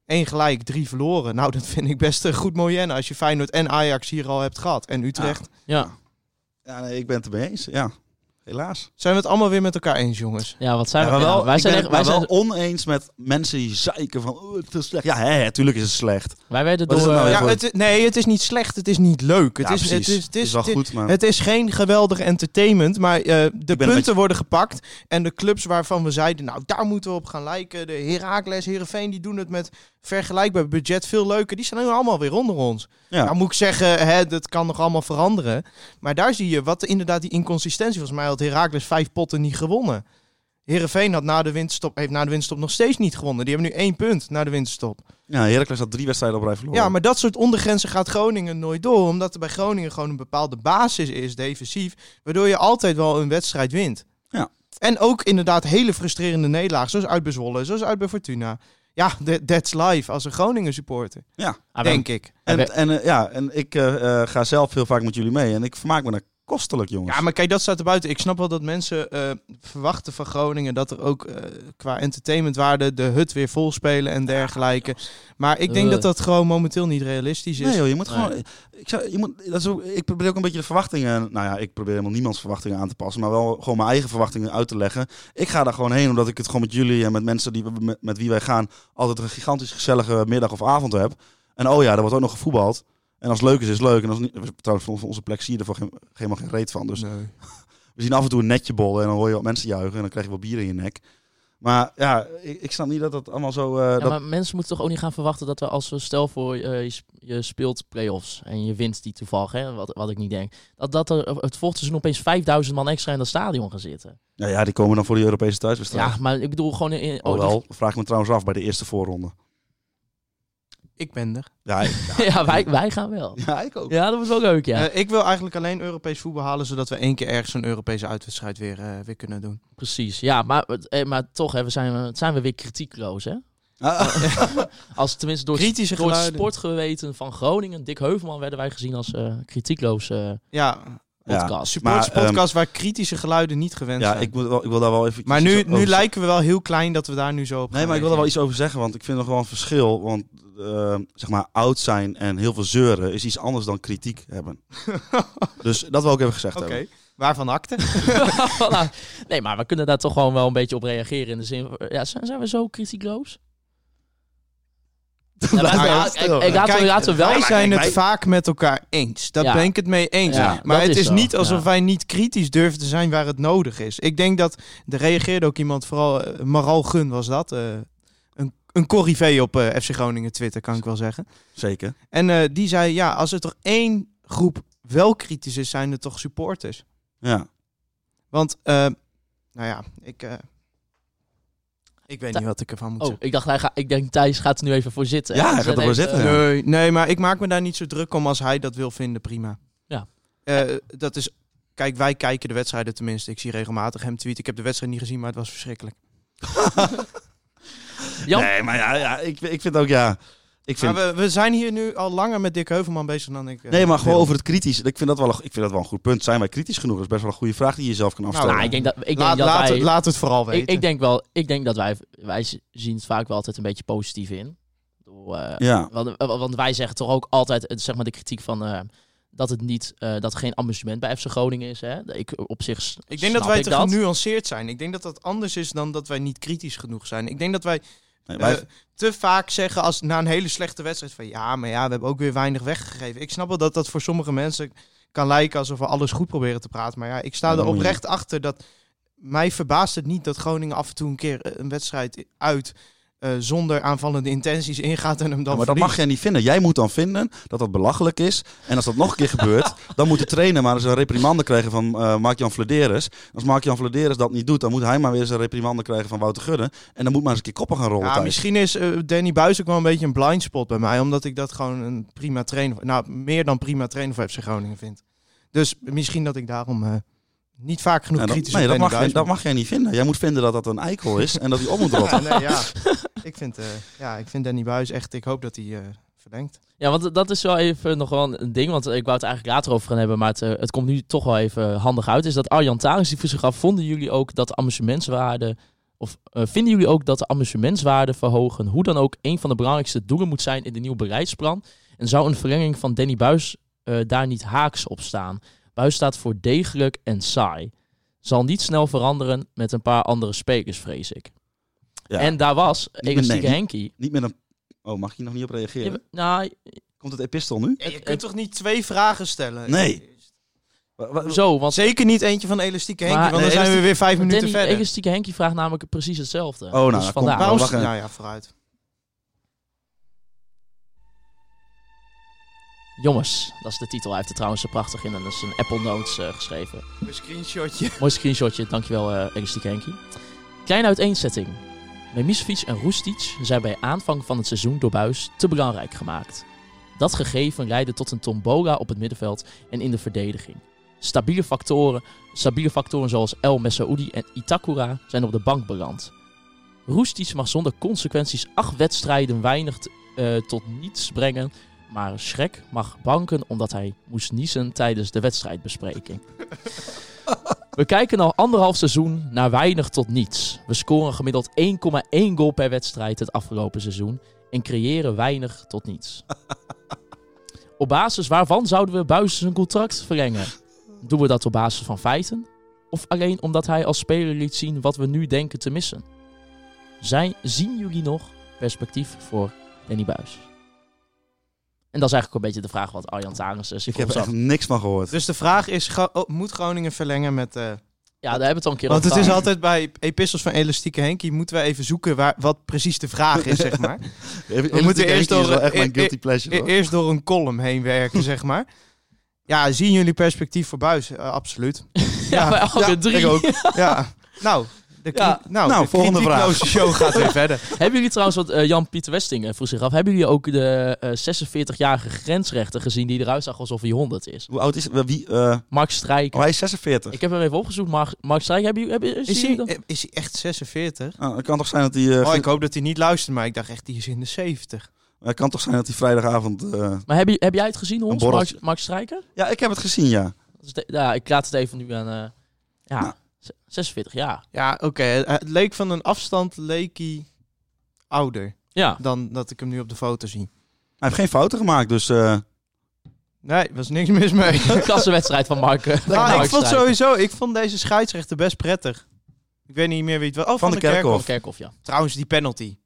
Eén gelijk, drie verloren. Nou, dat vind ik best een goed moyenne als je Feyenoord en Ajax hier al hebt gehad. En Utrecht. ja. ja nee, ik ben het ermee eens. Ja, helaas. Zijn we het allemaal weer met elkaar eens, jongens? ja, wat zijn Ja, maar we? ja, wel, wij zijn, ik echt- ben wij, het wel zijn, oneens met mensen die zeiken van oh, het is slecht. Ja, hè, hè, tuurlijk is het slecht. wij werden Wat is door... het nou eh, weer? Ja, goed. het, i- nee, het is niet slecht. Het is niet leuk. Het ja, is, precies. Het is, het is, wel het- goed, maar Het is geen geweldig entertainment, maar eh, de beetje- punten worden gepakt. En de clubs waarvan we zeiden, nou daar moeten we op gaan lijken. De Heracles, Herenveen, die doen het met vergelijkbaar budget veel leuker. Die staan nu allemaal weer onder ons. Ja. Nou moet ik zeggen, hè, dat kan nog allemaal veranderen. Maar daar zie je wat inderdaad die inconsistentie. Volgens mij had Heracles vijf potten niet gewonnen. Herenveen had na de winterstop, heeft na de winterstop nog steeds niet gewonnen. Die hebben nu één punt na de winterstop. ja, Heracles had drie wedstrijden op rij verloren. Ja, maar dat soort ondergrenzen gaat Groningen nooit door. Omdat er bij Groningen gewoon een bepaalde basis is, defensief. Waardoor je altijd wel een wedstrijd wint. Ja. En ook inderdaad hele frustrerende nederlagen. Zoals uit bij Zwolle, zoals uit bij Fortuna. Ja, that- that's life als een Groningen supporter, ah, wij- denk ik. en, Oké. en eh, ja, en ik eh, eh, ga zelf heel vaak met jullie mee en ik vermaak me daar kostelijk, jongens. Ja, maar kijk, dat staat er buiten. Ik snap wel dat mensen eh, verwachten van Groningen dat er ook eh, qua entertainmentwaarde de hut weer vol spelen en dergelijke. Maar ik denk Eh. dat dat gewoon momenteel niet realistisch is. Nee joh, je moet Dus- Nee. gewoon... Ik, zou, je moet, dat is ook, ik probeer ook een beetje de verwachtingen... Nou ja, ik probeer helemaal niemands verwachtingen aan te passen. Maar wel gewoon mijn eigen verwachtingen uit te leggen. Ik ga daar gewoon heen omdat ik het gewoon met jullie en met mensen die, we- met, met wie wij gaan... altijd een gigantisch gezellige middag of avond heb. En oh ja, er wordt ook nog gevoetbald. En als het leuk is, is het leuk. En als het niet, trouwens, van onze plek zie je er voor geen, helemaal geen reet van. Dus Nee. we zien af en toe een netje bollen en dan hoor je wat mensen juichen. En dan krijg je wel bier in je nek. Maar ja, ik, ik snap niet dat dat allemaal zo... eh, Ja, dat, maar mensen moeten toch ook niet gaan verwachten dat we als we stel voor eh, je, sp- je speelt play-offs en je wint die toevallig, hè, wat, wat ik niet denk. Dat, dat er het volgende seizoen opeens 5000 man extra in dat stadion gaan zitten. ja, ja, die komen dan voor die Europese thuiswedstrijd. Ja, maar ik bedoel gewoon... In, Oh, oh, wel. Vraag ik me trouwens af bij de eerste voorronde. Ik ben er. Ja, ik, die- ja, wij, wij gaan wel. ja, ik ook. Ja, dat wordt wel leuk, ja. Eh, ik wil eigenlijk alleen Europees voetbal halen, zodat we één keer ergens een Europese uitwedstrijd weer, eh, weer kunnen doen. Precies, ja. Maar, het- eh, maar toch, hè, we zijn, eh, zijn we weer kritiekloos, hè? Als tenminste door, het- Kritische door het geluiden. sportgeweten van Groningen, Dick Heuvelman, werden wij gezien als eh, kritiekloos eh, Ja, podcast. maar, supporterspodcast waar kritische geluiden niet gewend ehm, ja zijn. ik, moet wel, ik wil daar wel even... maar iets nu, over nu zeggen. lijken we wel heel klein dat we daar nu zo op Nee, gaan maar ik wil er wel reageren. iets over zeggen, want ik vind nog wel een verschil. Want eh, zeg maar, oud zijn en heel veel zeuren is iets anders dan kritiek hebben. dus dat wil ik even gezegd Oké, hebben. waarvan acte? Voilà. nou, Nee, maar we kunnen daar toch gewoon wel een beetje op reageren. In de zin van, ja, zijn, zijn we zo kritiekloos? Ja, maar- blijft wel ja, stil. ik- ik laat Kijk, hem- laat hem wel Wij maar zijn kijk, het wij- vaak met elkaar eens. Daar Ja. ben ik het mee eens. Ja, maar dat het is is zo. niet alsof Ja. wij niet kritisch durven te zijn waar het nodig is. Ik denk dat, er reageerde ook iemand, vooral eh, Maral Gun was dat. eh, een, een corrivee op eh, FC Groningen Twitter, kan ik wel zeggen. Zeker. En eh, die zei, ja, als er toch één groep wel kritisch is, zijn er toch supporters. Ja. Want, eh, nou ja, ik... eh, ik weet Ta- niet wat ik ervan moet Oh, zeggen. ik dacht, hij ga, ik denk Thijs gaat er nu even voor zitten. Ja, hij Dus gaat dat er voor heeft, zitten, eh, ja. Nee, nee, maar ik maak me daar niet zo druk om als hij dat wil vinden, prima. Ja. Eh, dat is, kijk, wij kijken de wedstrijden tenminste. Ik zie regelmatig hem tweeten. Ik heb de wedstrijd niet gezien, maar het was verschrikkelijk. Jan? Nee, maar ja, ja ik, ik vind ook, ja... Ik vind, Maar we, we zijn hier nu al langer met Dick Heuvelman bezig dan ik. eh, nee, maar gewoon wil. over het kritisch. Ik vind, dat wel, een- ik vind dat wel een goed punt. Zijn wij kritisch genoeg? Dat is best wel een goede vraag die je jezelf kan afstellen. Nou, ik denk dat, ik denk laat, dat laat, wij... het, laat het vooral weten. ik, ik denk wel, ik denk dat wij, wij z- zien het vaak wel altijd een beetje positief in. Ik bedoel, eh, ja. want, eh, want wij zeggen toch ook altijd, eh, zeg maar, de kritiek van... eh, dat het niet, eh, dat er geen amusement bij FC Groningen is. Hè? Ik, op zich s- Ik denk dat snap wij ik te dat. genuanceerd zijn. Ik denk dat dat anders is dan dat wij niet kritisch genoeg zijn. Ik denk dat wij, Nee, wij- eh, te vaak zeggen als na een hele slechte wedstrijd van ja, maar ja, we hebben ook weer weinig weggegeven. Ik snap wel dat dat voor sommige mensen kan lijken alsof we alles goed proberen te praten. Maar ja, ik sta Ja, er dat moet je oprecht achter dat mij verbaast het niet dat Groningen af en toe een keer eh, een wedstrijd uit eh, zonder aanvallende intenties ingaat en hem dan Ja, maar dat mag verliest. jij niet vinden. Jij moet dan vinden dat dat belachelijk is. En als dat nog een keer gebeurt, dan moet de trainer maar eens een reprimande krijgen van eh Mark-Jan Vladeres. Als Mark-Jan Vladeres dat niet doet, dan moet hij maar weer eens een reprimande krijgen van Wouter Gudde. En dan moet maar eens een keer koppen gaan rollen. Ja, thuis. misschien is eh, Danny Buis ook wel een beetje een blind spot bij mij, omdat ik dat gewoon een prima trainer, nou meer dan prima trainer voor FC Groningen vind. Dus misschien dat ik daarom eh, niet vaak genoeg Ja, dat, kritisch nee, op dat Danny mag, Buijs jij, ben. dat mag jij niet vinden. Jij moet vinden dat dat een eikel is en dat hij op moet Ja, rotten. nee, ja. ik, vind, eh, ja, ik vind Danny Buis echt, ik hoop dat hij eh, verlengt. Ja, want dat is wel even nog wel een ding. Want ik wou het eigenlijk later over gaan hebben. Maar het, eh, het komt nu toch wel even handig uit. Is dat Arjan Taris die voor zich af. Vonden jullie ook dat de amusementswaarde. Of eh, vinden jullie ook dat de amusementswaarde verhogen. hoe dan ook een van de belangrijkste doelen moet zijn in de nieuwe beleidsplan? En zou een verlenging van Danny Buis eh, daar niet haaks op staan? Buis staat voor degelijk en saai. Zal niet snel veranderen met een paar andere spelers, vrees ik. Ja. En daar was met Elastieke Henk. Henkie. Niet met een... Oh, mag ik hier nog niet op reageren? nou, Komt het epistel nu? je kunt toch niet twee vragen stellen? Nee. Wa- wa- nou, zo, want Zeker niet eentje van Elastieke Henkie, Maar- want dan Nee, zijn we weer vijf minuten Danny, verder. Elastieke Henkie vraagt namelijk precies hetzelfde. Oh, nou, Dus dat vandaar. komt- Waarom? wacht even. Nou ja, vooruit. Jongens, dat is de titel. Hij heeft het trouwens zo prachtig in en dat is een Apple Notes eh, geschreven. Een screenshotje. Mooi screenshotje, dankjewel eh Elastieke Henkie. Kleine uiteenzetting. Memisevic en Roestic zijn bij aanvang van het seizoen door Buis te belangrijk gemaakt. Dat gegeven leidde tot een tombola op het middenveld en in de verdediging. Stabiele factoren, stabiele factoren zoals El Messaoudi en Itakura zijn op de bank beland. Roestic mag zonder consequenties acht wedstrijden weinig t- eh, tot niets brengen Maar Schrek mag banken omdat hij moest niezen tijdens de wedstrijdbespreking. We kijken al anderhalf seizoen naar weinig tot niets. We scoren gemiddeld 1,1 goal per wedstrijd het afgelopen seizoen en creëren weinig tot niets. Op basis waarvan zouden we Buijs zijn contract verlengen? Doen we dat op basis van feiten? Of alleen omdat hij als speler liet zien wat we nu denken te missen? Zijn, zien jullie nog perspectief voor Danny Buis? En dat is eigenlijk een beetje de vraag wat Arjan Tarens is. Ik heb er echt niks van gehoord. Dus de vraag is, ga- oh, moet Groningen verlengen met... eh, Ja, daar hebben we het al een keer want over het is gehad. altijd bij Epistels van Elastieke Henkie, moeten we even zoeken waar, wat precies de vraag is, zeg maar. We moeten eerst is wel door- echt mijn e- guilty e- pleasure. E- hoor. Eerst door een column heen werken, zeg maar. Ja, zien jullie perspectief voor Buis? Eh, absoluut. Ja, bij elke drie. ik ook. Ja. Nou, de, kri- Ja. nou, Nou, de volgende kritiekloze show gaat weer verder. Hebben jullie trouwens, wat eh, Jan-Pieter Westing eh, vroeg zich af, hebben jullie ook de eh, 46-jarige grensrechter gezien die eruit zag alsof hij 100 is? Hoe oud is Wie, eh, Mark oh, Strijk. hij is 46. Ik heb er even opgezocht, Mark, Mark Strijk, hebben jullie, hebben, is, Is hij hij, dan? eh, is hij echt 46? Ah, het kan toch zijn dat hij, eh, Oh, ik hoop dat hij niet luistert, maar ik dacht echt, die is in de 70. het kan toch zijn dat hij vrijdagavond... eh, Maar heb, je, heb jij het gezien, ons, borreltje. Mark, Mark Strijker? Ja, ik heb het gezien, ja. Dat is de- ja, ik laat het even nu aan... eh, ja, Nou. z- 46 jaar. Ja, oké. eh, Het leek van een afstand, leek hij ouder Ja. dan dat ik hem nu op de foto zie. Hij heeft geen fouten gemaakt, dus... eh, Nee, was niks mis mee. Klasse wedstrijd van Mark. eh, van Ah, Mark ik vond Strijker. sowieso, ik vond deze scheidsrechter best prettig. Ik weet niet meer wie het was. Oh, van, de de, Kerkhof. Kerkhof. Van Kerkhoff, ja. Trouwens, die penalty.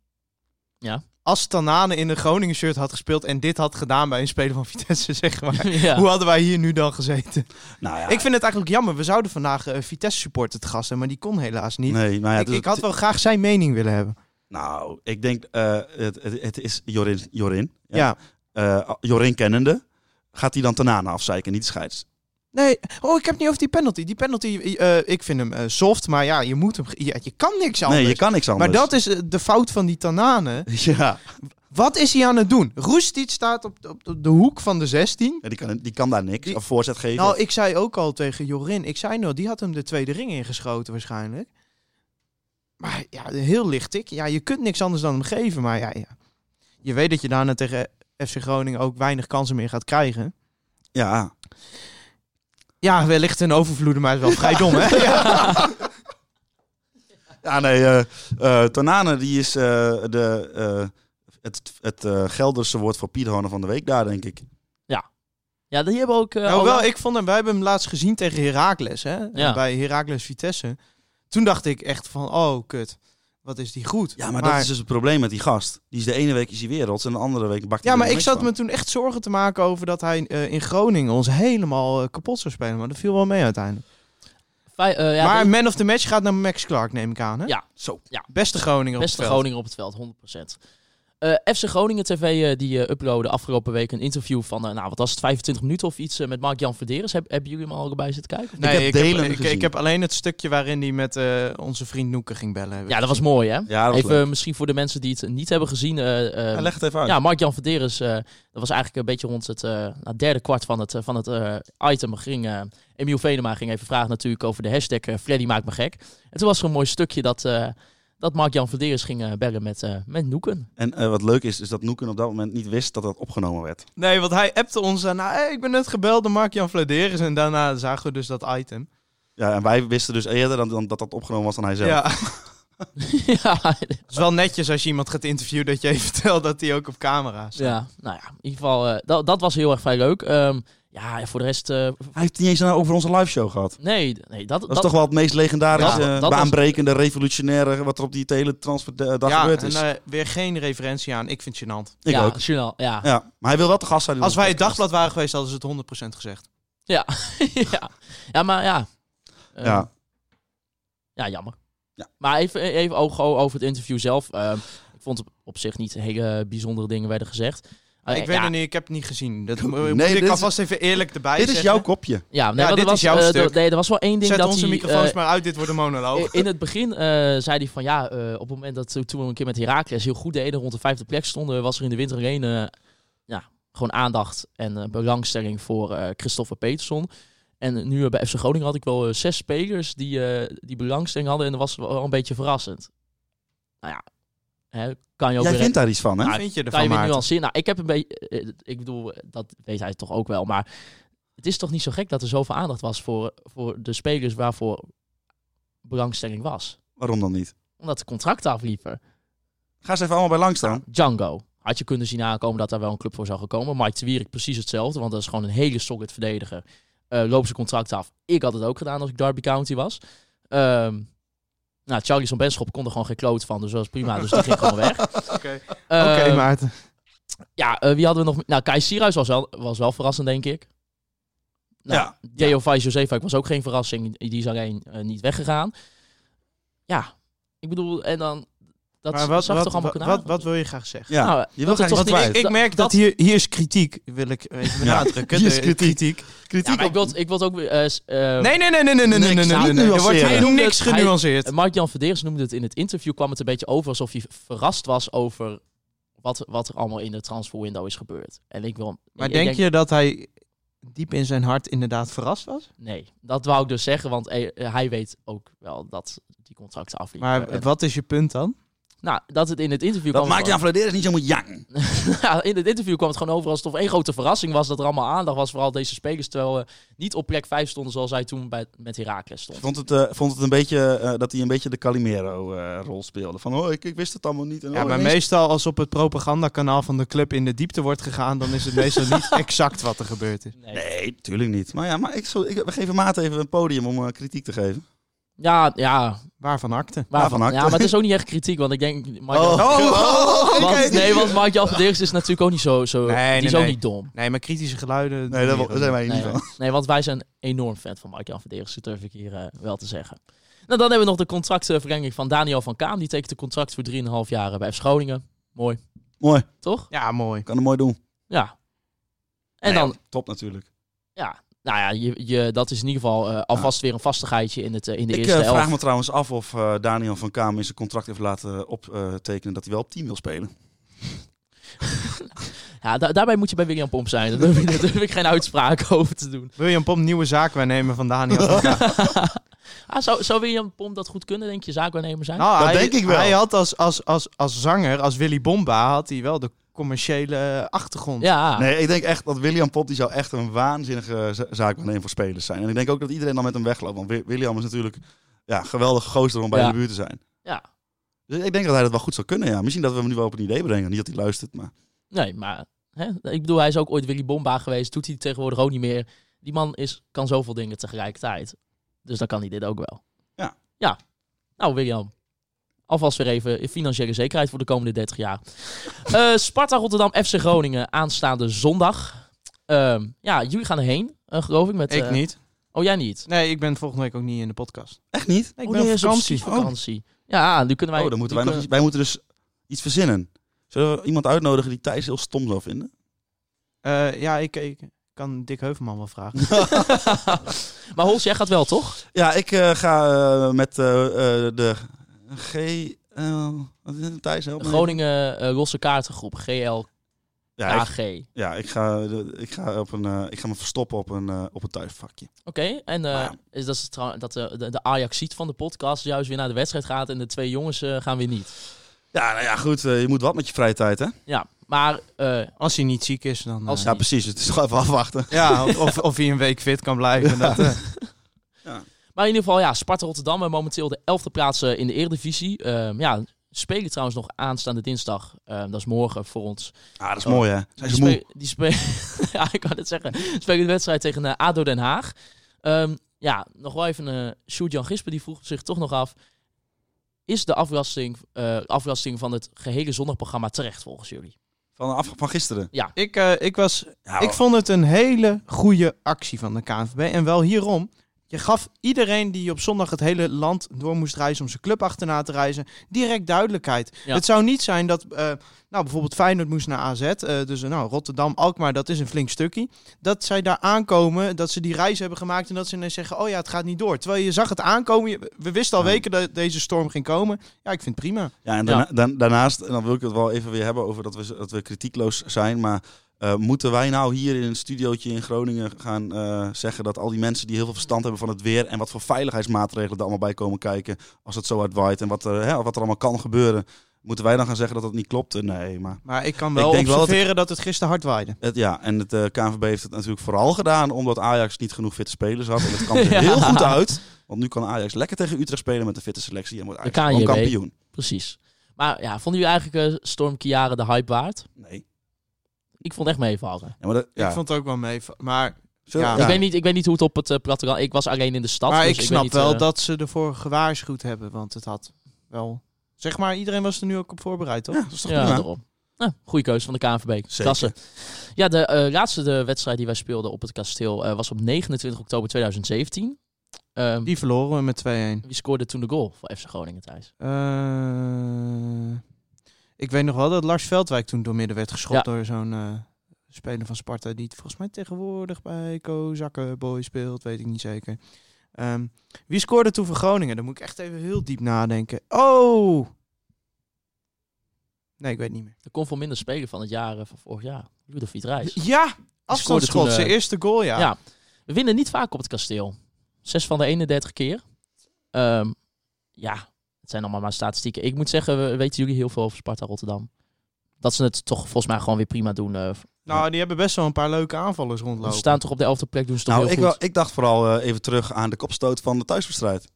Ja. Als Tanane in een Groningen shirt had gespeeld en dit had gedaan bij een speler van Vitesse, zeg maar. ja. Hoe hadden wij hier nu dan gezeten? nou ja, Ik vind het eigenlijk jammer. We zouden vandaag eh, Vitesse supporter te gast hebben, maar die kon helaas niet. nee, maar ja, dus ik, het is- ik had wel graag zijn mening willen hebben. Nou, ik denk, eh, het, het, het is Jorin. Jorin, Ja. Eh, Jorin kennende. Gaat hij dan Tanana afzeiken, niet de scheids? Nee, oh, ik heb het niet over die penalty. Die penalty, eh, eh, ik vind hem eh, soft, maar ja, je moet hem. ge- Je, je kan niks anders. Nee, je kan niks anders. Maar dat is eh, de fout van die Tanane. Ja, Wat is hij aan het doen? Roestic staat op, op, op de hoek van de 16. Ja, die, kan, die kan daar niks. Die- Of voorzet geven. Nou, ik zei ook al tegen Jorin, ik zei nou, die had hem de tweede ring ingeschoten waarschijnlijk. Maar ja, een heel licht tik. Ja, je kunt niks anders dan hem geven, maar ja, ja. Je weet dat je daarna tegen FC Groningen ook weinig kansen meer gaat krijgen. Ja, Ja, wellicht een overvloede, maar het is wel vrij dom, hè? ja nee. eh eh, Tanane, die is eh, de, eh, het, het eh, Gelderse woord voor Piedhoorn van de week daar, denk ik. ja, die hebben ook... eh, Ja, al- hoewel, ik vond hem, wij hebben hem laatst gezien tegen Heracles, hè? Ja. Bij Heracles Vitesse. Toen dacht ik echt van, oh, kut. Wat is die goed. Ja, maar, dat is dus het probleem met die gast. Die is de ene week is hij werelds en de andere week bakt hij Ja, er maar ik niks zat van. me toen echt zorgen te maken over dat hij eh, in Groningen ons helemaal eh, kapot zou spelen. Maar dat viel wel mee uiteindelijk. Vij- eh, ja, maar de Man of the Match gaat naar Max Clark, neem ik aan. Hè? Ja. Zo. Ja. Beste Groningen beste op het veld. Groningen op het veld, 100%. Eh, FC Groningen TV eh, die eh, uploadde afgelopen week een interview van, eh, nou wat was het, 25 minuten of iets eh, met Mark-Jan Verderes. Heb, hebben jullie hem al erbij zitten kijken? heb ik, delen heb, ik, gezien. ik heb alleen het stukje waarin hij met eh, onze vriend Noeke ging bellen. heb ik Ja, dat was gezien. mooi hè? Ja, dat was Even leuk. eh, misschien voor de mensen die het niet hebben gezien. eh, eh, Ja, leg het even uit. Ja, Mark-Jan Verderes, eh, dat was eigenlijk een beetje rond het eh, nou, het derde kwart van het, eh, van het eh, item. Ging, eh Emiel Venema ging even vragen natuurlijk over de hashtag eh, Freddy maakt me gek. En toen was er een mooi stukje dat, eh, dat Mark-Jan Verderes ging eh, bellen met, eh, met Noeken. En eh, wat leuk is, is dat Noeken op dat moment niet wist dat dat opgenomen werd. Nee, want hij appte ons daarna. Hey, ik ben net gebeld door Mark-Jan Vladeris. En daarna zagen we dus dat item. Ja, en wij wisten dus eerder dan, dan dat dat opgenomen was dan hij zelf. Ja. ja, Het is wel netjes als je iemand gaat interviewen dat je even vertelt dat hij ook op camera staat. ja, nou ja, in ieder geval, eh, dat, dat was heel erg vrij leuk. Ehm, ja, en voor de rest, eh, Hij heeft het niet eens nou over onze live show gehad. nee, nee, dat, Dat, is toch wel het meest legendarische, Ja, dat was- baanbrekende, revolutionaire wat er op die hele transferdag Ja, gebeurd en is. eh, weer geen referentie aan. Ik vind het gênant. ik ja, ook. journaal, ja. Ja, maar hij wil wel te gast zijn. in Als onze wij het podcast. dagblad waren geweest, hadden ze het 100% gezegd. Ja. ja. ja, maar ja. Eh, Ja. Ja, jammer. Ja. Maar even, e-, even oog over het interview zelf. Ehm, ik vond op, op zich niet hele bijzondere dingen werden gezegd. Eh, ik weet ja, het niet, ik heb het niet gezien. Dat moet dit ik is- alvast even eerlijk erbij Dit is zeggen. jouw kopje. Ja, nee, Ja, want er dit is was, jouw eh, stuk. er- nee, er was wel één ding Zet dat onze hij, microfoons eh, maar uit, dit wordt een monoloog. in het begin eh, zei hij van ja, eh, op het moment dat toen we een keer met Herakles heel goed deden, rond de vijfde plek stonden, was er in de winter alleen eh, ja, gewoon aandacht en eh, belangstelling voor eh Christopher Peterson. En nu eh, bij FC Groningen had ik wel eh, zes spelers die, eh, die belangstelling hadden en dat was wel een beetje verrassend. Nou ja, Hè, kan je ook Jij weer vindt daar iets van, hè? Wat vind je kan ervan, je weer Maarten? nuanceren. Nou, ik heb een beetje... eh, Ik bedoel, dat weet hij toch ook wel. Maar het is toch niet zo gek dat er zoveel aandacht was voor, voor de spelers waarvoor belangstelling was. Waarom dan niet? Omdat de contracten afliepen. Ga eens even allemaal bij lang staan. Django. Had je kunnen zien aankomen dat daar wel een club voor zou gaan komen. Mike de Wierik precies hetzelfde, want dat is gewoon een hele solid verdediger. Eh loopt zijn contract af. Ik had het ook gedaan als ik Derby County was. Ehm nou, Charlie van Benschop kon er gewoon geen kloot van, dus dat was prima. Dus die ging gewoon weg. Oké. Ehm, Oké, Maarten. Ja, eh, wie hadden we nog? meer? Nou, Kai Sierhuis was wel, was wel verrassend, denk ik. Nou, Ja. Theo Vijs Josefa was ook geen verrassing. Die is alleen eh, niet weggegaan. Ja, ik bedoel, en dan... Dat Maar wat, zag wat, toch allemaal wat, kunnen wat, aan? wat wil je graag zeggen? Ja, Nou, je dat wil het graag toch iets niet- kwijt. Ik- Ik merk dat dat- hier, hier is kritiek, wil ik even benadrukken. Hier is De- kritiek. Ja, Kritiek maar ik wil, ik wil het ook... weer, eh, s- eh, Nee, nee, nee, nee, nee, nee, nee, nee, Niks nee, nee. Er wordt nuanceren. hier niks Hij- genuanceerd. Mark-Jan Verdeers noemde het in het interview, kwam het een beetje over alsof hij verrast was over wat, wat er allemaal in de transferwindow is gebeurd. En ik wil... Maar ik- denk ik je dat hij diep in zijn hart inderdaad verrast was? Nee, dat wou ik dus zeggen, want eh, hij weet ook wel dat die contracten afliepen. Maar En- wat is je punt dan? Nou, dat het in het interview Dat kwam... maakt je aan Vladeris niet helemaal jang. Ja, in het interview kwam het gewoon over alsof het één grote verrassing was dat er allemaal aandacht was voor al deze spelers, terwijl we niet op plek 5 stonden zoals hij toen bij, met Heracles stond. Vond het, eh, vond het een beetje eh, dat hij een beetje de Calimero-rol speelde. Van, oh, ik, ik wist het allemaal niet. En, Ja, oh, maar ineens- meestal als op het propagandakanaal van de club in de diepte wordt gegaan, dan is het meestal niet exact wat er gebeurd is. Nee, tuurlijk niet. Maar ja, maar ik, zo, ik, we geven Maat even een podium om eh, kritiek te geven. Ja, ja, Waarvan akte? waarvan? Waarvan ja, acte? maar het is ook niet echt kritiek, want ik denk... Mike- oh, want, Nee, want Mike Jan Verderks is natuurlijk ook niet zo, zo Nee, die nee, is ook nee. niet dom. Nee, maar kritische geluiden. Nee, daar, daar zijn wij niet Nee, van. nee, want wij zijn enorm fan van Mike Jan Verderks, dat durf ik hier eh, wel te zeggen. Nou, dan hebben we nog de contractverlenging van Daniel van Kaam. Die tekent een contract voor 3,5 jaar eh, bij FC Groningen. Mooi, Mooi, toch? Ja, mooi. kan het mooi doen. Ja. En Nee, dan, Top natuurlijk. Ja, nou ja, je, je, dat is in ieder geval eh, alvast weer een vastigheidje in, het, eh, in de Ik eerste eh, elf. vraag me trouwens af of eh, Daniel van Kamer in zijn contract heeft laten eh, optekenen dat hij wel op team wil spelen. Ja, da- daarbij moet je bij William Pomp zijn. Daar durf, ik- daar durf ik geen uitspraak over te doen. William Pomp, nieuwe zaak waarnemen van Daniel. Nou, van Gaal. Ah, zou, zou William Pomp dat goed kunnen, denk je, zaakwaarnemer zijn? Nou, Dat hij, denk ik wel. Hij had als, als, als, als zanger, als Willy Bomba, had hij wel de commerciële eh, achtergrond. ja, Nee, ik denk echt dat William Pop die zou echt een waanzinnige za- zaakwaarnemer voor spelers zijn. En ik denk ook dat iedereen dan met hem wegloopt. Want Wi- William is natuurlijk ja, een geweldige gozer om bij Ja. in de buurt te zijn. Ja. Dus ik denk dat hij dat wel goed zou kunnen, ja. Misschien dat we hem nu wel op een idee brengen. Niet dat hij luistert, maar... nee, maar hè? ik bedoel, hij is ook ooit Willy Bomba geweest. Doet hij tegenwoordig ook niet meer. Die man is, kan zoveel dingen tegelijkertijd. Dus dan kan hij dit ook wel. Ja. Ja. Nou, William. Alvast weer even financiële zekerheid voor de komende 30 jaar. Eh, Sparta Rotterdam FC Groningen aanstaande zondag. Ehm, ja, jullie gaan erheen, eh, geloof ik. Met, Ik eh, niet. Oh, jij niet? Nee, ik ben volgende week ook niet in de podcast. Echt niet? Nee, oh, ik ben nee, op is op vakantie. vakantie. Ja, nu kunnen wij... oh, dan moeten wij, nu nog iets, wij moeten dus iets verzinnen. Zullen we iemand uitnodigen die Thijs heel stom zou vinden? Eh, ja, ik, ik kan Dick Heuvelman wel vragen. kunnen- Maar Hols, jij gaat wel, toch? Ja, ik eh, ga eh, met eh, eh, de G... eh, wat is het? Thijs, help me even. Groningen eh, Losse Kaartengroep, GLKG. Ja, ik, ja ik, ga, ik, ga op een, eh, ik ga me verstoppen op een, eh, op een thuisvakje. Oké, en eh, Nou ja. is dat, is trouw- dat eh, de, de, de ajax ziet van de podcast juist weer naar de wedstrijd gaat en de twee jongens eh, gaan weer niet. Ja, nou ja, goed. eh, je moet wat met je vrije tijd, hè? Ja, maar eh, Als hij niet ziek is, dan... Als- eh, Ja, precies. Het is gewoon even afwachten. ja, of- of, of hij een week fit kan blijven. Dat, eh, Maar in ieder geval, ja, Sparta Rotterdam eh, momenteel de elfde plaats eh, in de Eredivisie. Ehm ja, spelen trouwens nog aanstaande dinsdag. Ehm, dat is morgen voor ons. Ah, dat is Oh. mooi, hè? Zijn ze die moe? spe- die spe- ja, ik kan het zeggen. Spelen de wedstrijd tegen eh, ADO Den Haag. Ehm, ja, nog wel even eh Sjoerd-Jan Gispen, die vroeg zich toch nog af. Is de afrassing, eh, afrassing van het gehele zondagprogramma terecht volgens jullie? Van, af, van gisteren. ik, eh, ik, was, Ja, ik vond het een hele goede actie van de KNVB. En wel hierom. Je gaf iedereen die op zondag het hele land door moest reizen om zijn club achterna te reizen, direct duidelijkheid. Ja. Het zou niet zijn dat, eh, nou bijvoorbeeld Feyenoord moest naar AZ, eh, dus eh, nou, Rotterdam, Alkmaar, dat is een flink stukje. Dat zij daar aankomen, dat ze die reis hebben gemaakt en dat ze ineens zeggen, oh ja, het gaat niet door. Terwijl je zag het aankomen, je- we wisten al Ja. weken dat deze storm ging komen. Ja, ik vind het prima. Ja, en daarna- dan, daarnaast, en dan wil ik het wel even weer hebben over dat we, dat we kritiekloos zijn. Maar eh, moeten wij nou hier in een studiootje in Groningen gaan eh, zeggen dat al die mensen die heel veel verstand hebben van het weer en wat voor veiligheidsmaatregelen er allemaal bij komen kijken als het zo hard waait en wat er, hè, wat er allemaal kan gebeuren. Moeten wij dan gaan zeggen dat dat niet klopt? Eh, Nee, maar Maar ik kan wel denk wel dat observeren dat, het gisteren hard waaide. het, ja. En het eh KNVB heeft het natuurlijk vooral gedaan omdat Ajax niet genoeg fitte spelers had. En het kwam er Ja. heel goed uit. Want nu kan Ajax lekker tegen Utrecht spelen met een fitte selectie en wordt Ajax kan gewoon je, kampioen. Precies. Maar ja, vonden jullie eigenlijk eh, Storm Kiaren de hype waard? Nee. Ik vond het echt meevallen. Ja, maar dat, ja. Ik vond het ook wel mee. Maar, Zo- ja. ja. Ik, weet niet, ik weet niet hoe het op het eh platteland... Ik was alleen in de stad. maar dus ik snap weet niet, wel eh, dat ze ervoor gewaarschuwd hebben. Want het had wel... Zeg maar, iedereen was er nu ook op voorbereid, toch? Ja, dat is toch Ja, prima? daarom. Nou, goede keuze van de KNVB. Zeker. Klasse. Ja, de eh, laatste de wedstrijd die wij speelden op het kasteel eh, was op 29 oktober 2017. Ehm, Die verloren we met 2-1. Wie scoorde toen de goal voor FC Groningen thuis? Eh, ik weet nog wel dat Lars Veldwijk toen doormidden werd geschopt Ja. door zo'n eh, speler van Sparta. Die het volgens mij tegenwoordig bij Kozakkenboy speelt, weet ik niet zeker. Ehm, wie scoorde toen voor Groningen? Dan moet ik echt even heel diep nadenken. Oh! Nee, ik weet niet meer. Er kon veel minder spelen van het jaar eh, van vorig jaar. Ludovic Reis. Ja! toen, Afstandsschot, eh, zijn eerste goal, ja. Ja. We winnen niet vaak op het kasteel. Zes van de 31 keer. Ehm, ja, het zijn allemaal maar statistieken. Ik moet zeggen, we- weten jullie heel veel over Sparta Rotterdam? Dat ze het toch volgens mij gewoon weer prima doen. eh. Nou, die hebben best wel een paar leuke aanvallers we rondlopen. staan toch op de 11e plek, doen ze toch Nou, heel ik, goed. wel- ik dacht vooral eh, even terug aan de kopstoot van de thuiswedstrijd.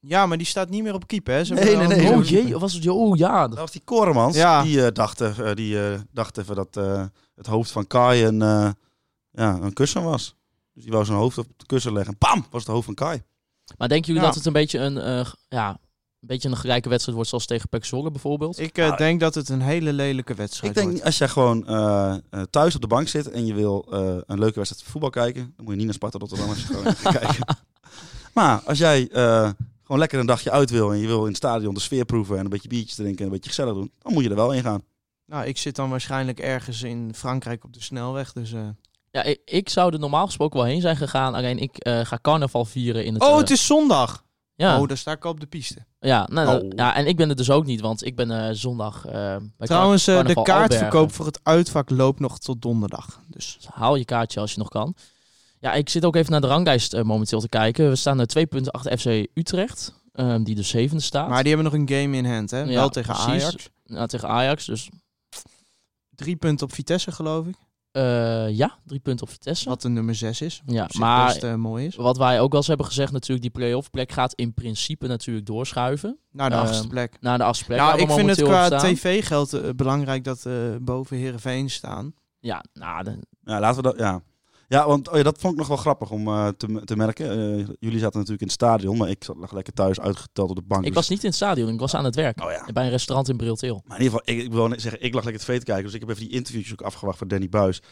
Ja, maar die staat niet meer op keep, hè? Ze Nee, hebben nee, wel nee, een- dat Oh jee, was het? Oh ja. Dat was die Koremans. Ja. Die eh, dacht, eh, die, eh, dacht even dat eh, het hoofd van Kai een, eh, ja, een kussen was. Dus die wou zijn hoofd op het kussen leggen. Pam! Was het hoofd van Kai. Maar denken jullie Ja. dat het een beetje een, eh, ja, een beetje een gelijke wedstrijd wordt zoals tegen Pek Zwolle bijvoorbeeld? Ik eh, Nou, denk dat het een hele lelijke wedstrijd Ik denk, wordt. niet- als jij gewoon eh, eh, thuis op de bank zit en je wil eh, een leuke wedstrijd voetbal kijken, dan moet je niet naar Sparta Rotterdam als je gewoon gaat kijken. Maar als jij eh, gewoon lekker een dagje uit wil en je wil in het stadion de sfeer proeven en een beetje biertjes drinken en een beetje gezellig doen, dan moet je er wel in gaan. Nou, ik zit dan waarschijnlijk ergens in Frankrijk op de snelweg. Dus, eh. Ja, ik, ik zou er normaal gesproken wel heen zijn gegaan. Alleen ik eh, ga carnaval vieren in het... Oh, eh, het is zondag. ja, Oh, daar sta ik al op de piste. ja, nou, Oh. ja, en ik ben er dus ook niet, want ik ben eh, zondag eh, bij Trouwens, eh, car- de carnaval kaartverkoop Albergen. voor het uitvak loopt nog tot donderdag. Dus Dus haal je kaartje als je nog kan. Ja, ik zit ook even naar de ranglijst eh, momenteel te kijken. We staan er twee punten achter FC Utrecht, ehm, die de zevende staat. Maar die hebben nog een game in hand, hè? Ja, Wel tegen precies. Ajax. Nou, tegen Ajax, dus Drie punten op Vitesse, geloof ik. eh, ja, drie punten op Vitesse. Wat de nummer zes is. Wat ja, op zich maar best eh, mooi is. Wat wij ook wel eens hebben gezegd, natuurlijk, die play-off plek gaat in principe natuurlijk doorschuiven Naar Nou, de Ehm, achtste plek. naar de afspraak. Nou, ik vind het qua staan. tv-geld eh, belangrijk dat eh boven Herenveen staan. Ja, nou, de- Ja, laten we dat. Ja, ja want oh ja, dat vond ik nog wel grappig om eh, te, te merken. Eh, jullie zaten natuurlijk in het stadion, maar ik zat nog lekker thuis uitgeteld op de bank. ik dus- was niet in het stadion, ik was aan het werk. Oh ja. Bij een restaurant in Brilteel. Maar in ieder geval, ik, ik wil net zeggen, ik lag lekker tv te kijken. Dus ik heb even die interviews ook afgewacht van Danny Buis.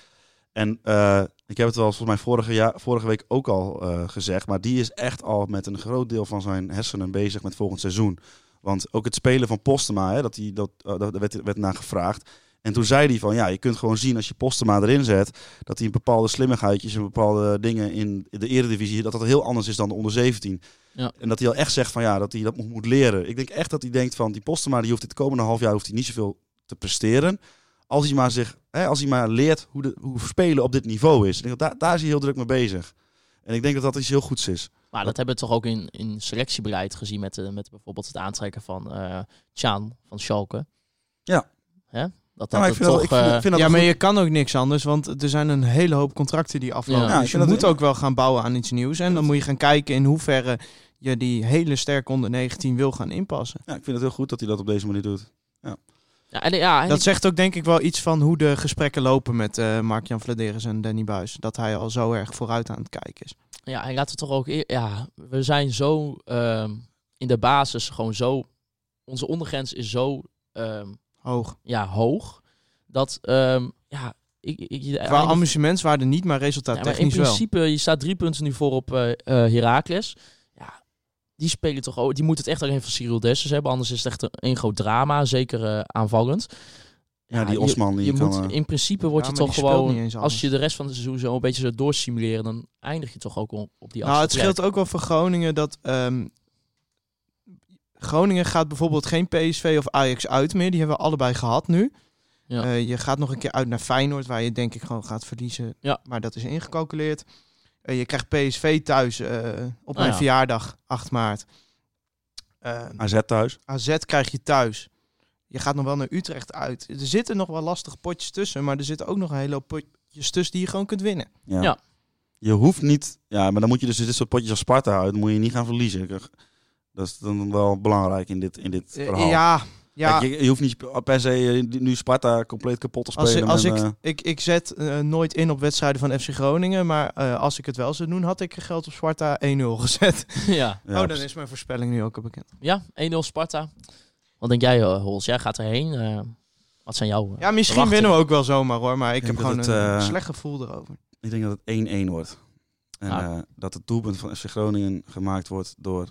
En eh, ik heb het wel volgens mij vorige, jaar, vorige week ook al eh, gezegd. Maar die is echt al met een groot deel van zijn hersenen bezig met volgend seizoen. Want ook het spelen van Postema, hè, dat die, dat, eh, daar werd, werd naar gevraagd. En toen zei hij van, ja, je kunt gewoon zien als je Postema erin zet... dat hij een bepaalde slimmigheidjes en bepaalde dingen in de eredivisie... dat dat heel anders is dan de onder 17. Ja. En dat hij al echt zegt van, ja, dat hij dat moet leren. Ik denk echt dat hij denkt van, die Postema die hoeft dit komende half jaar hoeft hij niet zoveel te presteren. Als hij maar, zich, hè, als hij maar leert hoe, de, hoe spelen op dit niveau is. Ik denk dat daar, daar is hij heel druk mee bezig. En ik denk dat dat iets heel goeds is. Maar dat hebben we toch ook in, in selectiebeleid gezien met, eh, met bijvoorbeeld het aantrekken van eh Chan van Schalke. Ja. Hè? Dat Ja, dat maar het ik vind dat- toch... ik vind- eh, ik vind dat ja, een maar goed- je kan ook niks anders, want er zijn een hele hoop contracten die aflopen. Ja. Ja, dus ik je vind dat- moet ook wel gaan bouwen aan iets nieuws. En dan moet je gaan kijken in hoeverre je die hele sterk onder 19 wil gaan inpassen. Ja, ik vind het heel goed dat hij dat op deze manier doet. ja, en, ja, en Dat zegt ook denk ik wel iets van hoe de gesprekken lopen met eh, Mark-Jan Vladeres en Danny Buis. Dat hij al zo erg vooruit aan het kijken is. Ja, en laten we toch ook... eer- Ja, we zijn zo ehm, in de basis gewoon zo... Onze ondergrens is zo ehm, Hoog. ja, hoog. Dat, ehm, ja... Ik, ik, Qua eigenlijk- amusementswaarde niet, maar resultaat Ja, maar in Nou, technisch wel. principe, je staat drie punten nu voor op eh eh, Heracles. Ja, die spelen toch ook. Die moet het echt alleen van Cyril Dessers hebben. Anders is het echt een, een groot drama. Zeker eh, aanvallend. Ja, die je- Osman die je kan... moet, eh, in principe word Ja, je maar toch die speelt niet gewoon. eens Als alles. je de rest van het seizoen zo een beetje zo doorsimuleren, dan eindig je toch ook op, op die Nou, het achtste plek. scheelt ook wel voor Groningen dat... ehm, Groningen gaat bijvoorbeeld geen PSV of Ajax uit meer. Die hebben we allebei gehad nu. Ja. Eh, je gaat nog een keer uit naar Feyenoord, waar je denk ik gewoon gaat verliezen. Ja. Maar dat is ingecalculeerd. Eh, je krijgt PSV thuis eh, op Ah, mijn ja. verjaardag, 8 maart. Eh, Eh, AZ thuis. AZ krijg je thuis. Je gaat nog wel naar Utrecht uit. Er zitten nog wel lastige potjes tussen, maar er zitten ook nog een hele hoop potjes tussen die je gewoon kunt winnen. Ja. Ja. Je hoeft niet... Ja, maar dan moet je dus dit soort potjes als Sparta houden. Dan moet je niet gaan verliezen. Dat is dan wel belangrijk in dit, in dit Eh, verhaal. ja, ja. Kijk, je, je hoeft niet per se eh, nu Sparta compleet kapot te Als, spelen. ik- als met, ik, eh, ik, ik zet eh, nooit in op wedstrijden van FC Groningen, maar eh, als ik het wel zou doen, had ik geld op Sparta 1-0 gezet. ja, ja, oh, dan is mijn voorspelling nu ook al bekend. ja 1-0 Sparta. Wat denk jij, eh, Hols? Jij gaat erheen. eh, wat zijn jouw... eh, Ja, misschien verwachtingen? winnen we ook wel zomaar hoor, maar ik, Ik heb denk gewoon dat een het, eh, slecht gevoel erover. Ik denk dat het 1-1 wordt. En Ah. eh, dat het doelpunt van FC Groningen gemaakt wordt door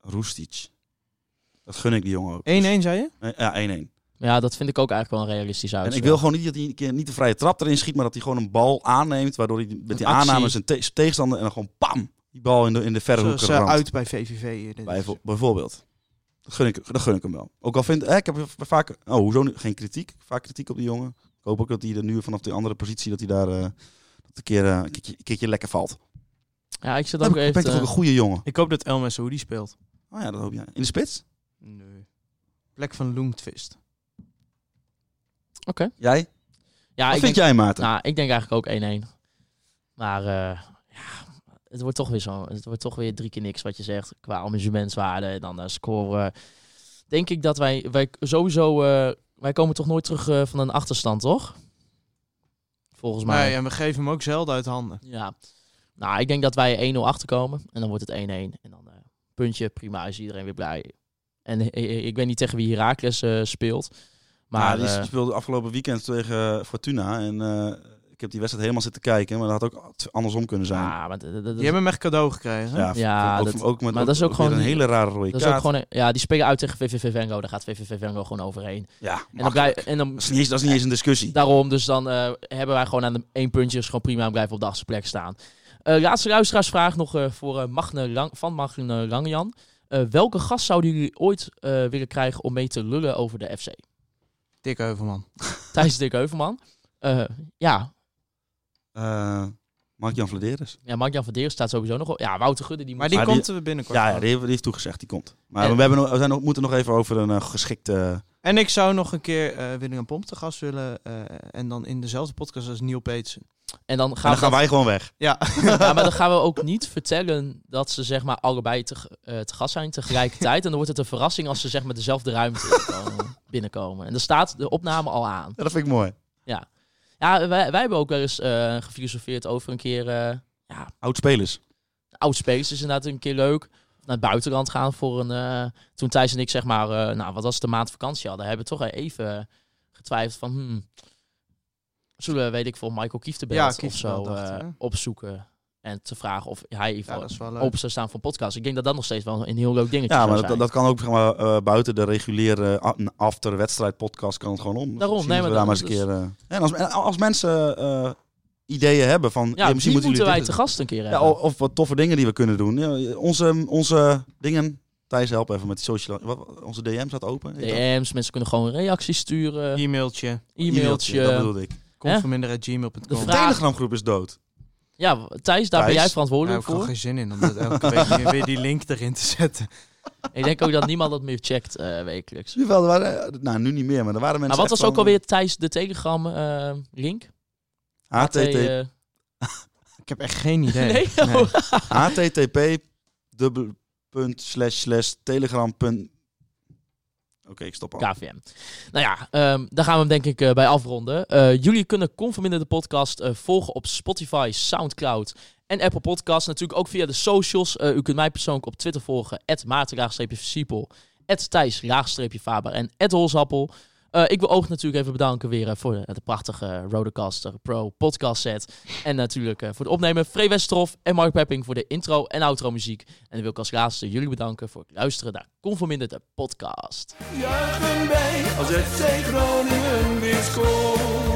Roestic. Dat gun ik die jongen ook. 1-1 zei je? Dus- eh, ja, 1-1. Ja, dat vind ik ook eigenlijk wel een realistisch uit. En ik wil gewoon niet dat hij een keer niet de vrije trap erin schiet, maar dat hij gewoon een bal aanneemt, waardoor hij met die actie. aanname zijn, te- zijn tegenstander en dan gewoon pam, die bal in de, in de verre hoek Zoals eh, ramt. uit bij VVV. hier, eh, dit is. Bijvo- Bijvoorbeeld. Dat gun, ik, dat gun ik hem wel. Ook al vind eh, ik, heb er vaak, oh hoezo nu- geen kritiek, vaak kritiek op die jongen. Ik hoop ook dat hij er nu vanaf die andere positie, dat hij daar eh, dat een, keer, eh, een, keertje, een keertje lekker valt. Ja, ik zit Dan ook ben ik even... toch ook een goede jongen. Ik hoop dat Elmer Saoudi speelt. Oh ja, dat hoop jij. In de spits? Nee. Plek van Loemtvist. Jij? ja, Wat ik vind denk, jij, Maarten? Nou, ik denk eigenlijk ook 1-1. Maar eh, ja, het wordt toch weer zo. Het wordt toch weer drie keer niks wat je zegt. Qua amusementswaarde en dan eh, scoren. Denk ik dat wij, wij sowieso... eh, wij komen toch nooit terug eh, van een achterstand, toch? Volgens mij. Nee, en we geven hem ook zelden uit handen. Ja. Nou, ik denk dat wij 1-0 achterkomen. En dan wordt het 1-1. En dan eh, puntje, prima. Is iedereen weer blij. En eh, eh, ik weet niet tegen wie Heracles eh, speelt. Maar Maar die eh, speelde afgelopen weekend tegen eh, Fortuna. En eh, ik heb die wedstrijd helemaal zitten kijken. Maar dat had ook andersom kunnen zijn. ja, maar, ah, eh, dat- dat- dat- Die hebben hem echt cadeau gekregen. hè? ja, Ja, ook, dat- ook met, maar dat is ook weer gewoon- een hele rare dat rode kaart. is ook gewoon, een- ja, die spelen uit tegen VVV Venlo. Daar gaat VVV Venlo gewoon overheen. Ja, En dan, makkelijk. blij, en dan dat, is niet eens, dat is niet eens een discussie. daarom, dus dan eh, hebben wij gewoon aan de één puntje. Is gewoon prima en blijven op de achtste plek staan. Eh, laatste luisteraarsvraag nog eh, voor eh, Magne Lang, van Magne Langejan. Eh, welke gast zouden jullie ooit eh, willen krijgen om mee te lullen over de FC? Dick Heuvelman. Thijs Dick Heuvelman. Eh, ja. Eh Mark-Jan Vladeres. ja, Mark-Jan van Deer staat sowieso nog op. Ja, Wouter Gudde, die Maar moet... die Maar die- komt er binnenkort. Ja, ja wel. die, heeft, die heeft toegezegd, die komt. Maar En- we, hebben, nog- we zijn, nog- moeten nog even over een eh, geschikte... En ik zou nog een keer eh Willem Pomp te gast willen. eh, en dan in dezelfde podcast als Neil Peetsen. En dan gaan, en dan gaan we wij gewoon weg. Ja, dat- ja, maar dan gaan we ook niet vertellen dat ze zeg maar allebei te, eh, te gast zijn tegelijkertijd. En dan wordt het een verrassing als ze zeg maar dezelfde ruimte gewoon binnenkomen. En dan staat de opname al aan. Ja, dat vind ik mooi. Ja, wij, wij hebben ook wel eens eh, gefilosofeerd over een keer... eh Oud-spelers. Outspace is inderdaad een keer leuk. Naar het buitenland gaan voor een... eh, toen Thijs en ik zeg maar, eh, nou wat was de maand vakantie hadden, hebben we toch even getwijfeld van... Hmm, zullen we, weet ik veel, Michael Kieftenbelt Ja, of zo Kieftenbelt dachten eh, we. opzoeken. En te vragen of hij even ja dat is wel leuk. open zou staan voor podcasts. Ik denk dat dat nog steeds wel een heel leuk dingetje Ja, zou maar zijn. dat, dat kan ook zeg maar, eh, buiten de reguliere eh, a- after wedstrijd podcast kan het gewoon om. Dus Daarom, misschien nee, moeten maar we dat- daar maar eens een keer. eh, en als, en als mensen eh, ideeën hebben van, ja, ja, die misschien moeten, moeten jullie wij dit- te gast een keer ja, oh, hebben. o- of wat toffe dingen die we kunnen doen. Ja, onze, onze dingen. Thijs, help even met die social. Wat, wat- onze DM staat open. Heet dat? DM's, mensen kunnen gewoon reacties sturen, E-mailtje. e-mailtje. Dat bedoelde ik. Hè? Komt van minder De De vraag- Telegram-groep is dood. Ja, Thijs, daar ben jij Thijs? Daar heb verantwoordelijk ik gewoon voor. geen zin in om dat elke week weer die link erin te zetten. Ik denk ook dat niemand dat meer checkt eh, wekelijks. Jawel, er waren, eh, nou, nu niet meer, maar er waren Maar mensen. wat was echt ook van- alweer Thijs de Telegram eh, link? HTT eh, Ik heb echt geen idee. Nee? Oh. http dubbel punt slash slash telegram punt- Oké, ik stop al. KVM. Nou ja, ehm, daar gaan we hem denk ik eh, bij afronden. Eh, jullie kunnen Conforminder de podcast eh, volgen op Spotify, Soundcloud en Apple Podcasts. Natuurlijk ook via de socials. Eh, u kunt mij persoonlijk op Twitter volgen. maarten-siepel, thijs-faber en holzappel. Eh, ik wil ook natuurlijk even bedanken weer eh, voor de, de prachtige Rodecaster Pro podcast set. En natuurlijk eh, voor het opnemen Free Westerhof en Mark Pepping voor de intro en outro muziek. En dan wil ik als laatste jullie bedanken voor het luisteren naar Conforminder de podcast. Juichen wij als FC Groningen weer scoort.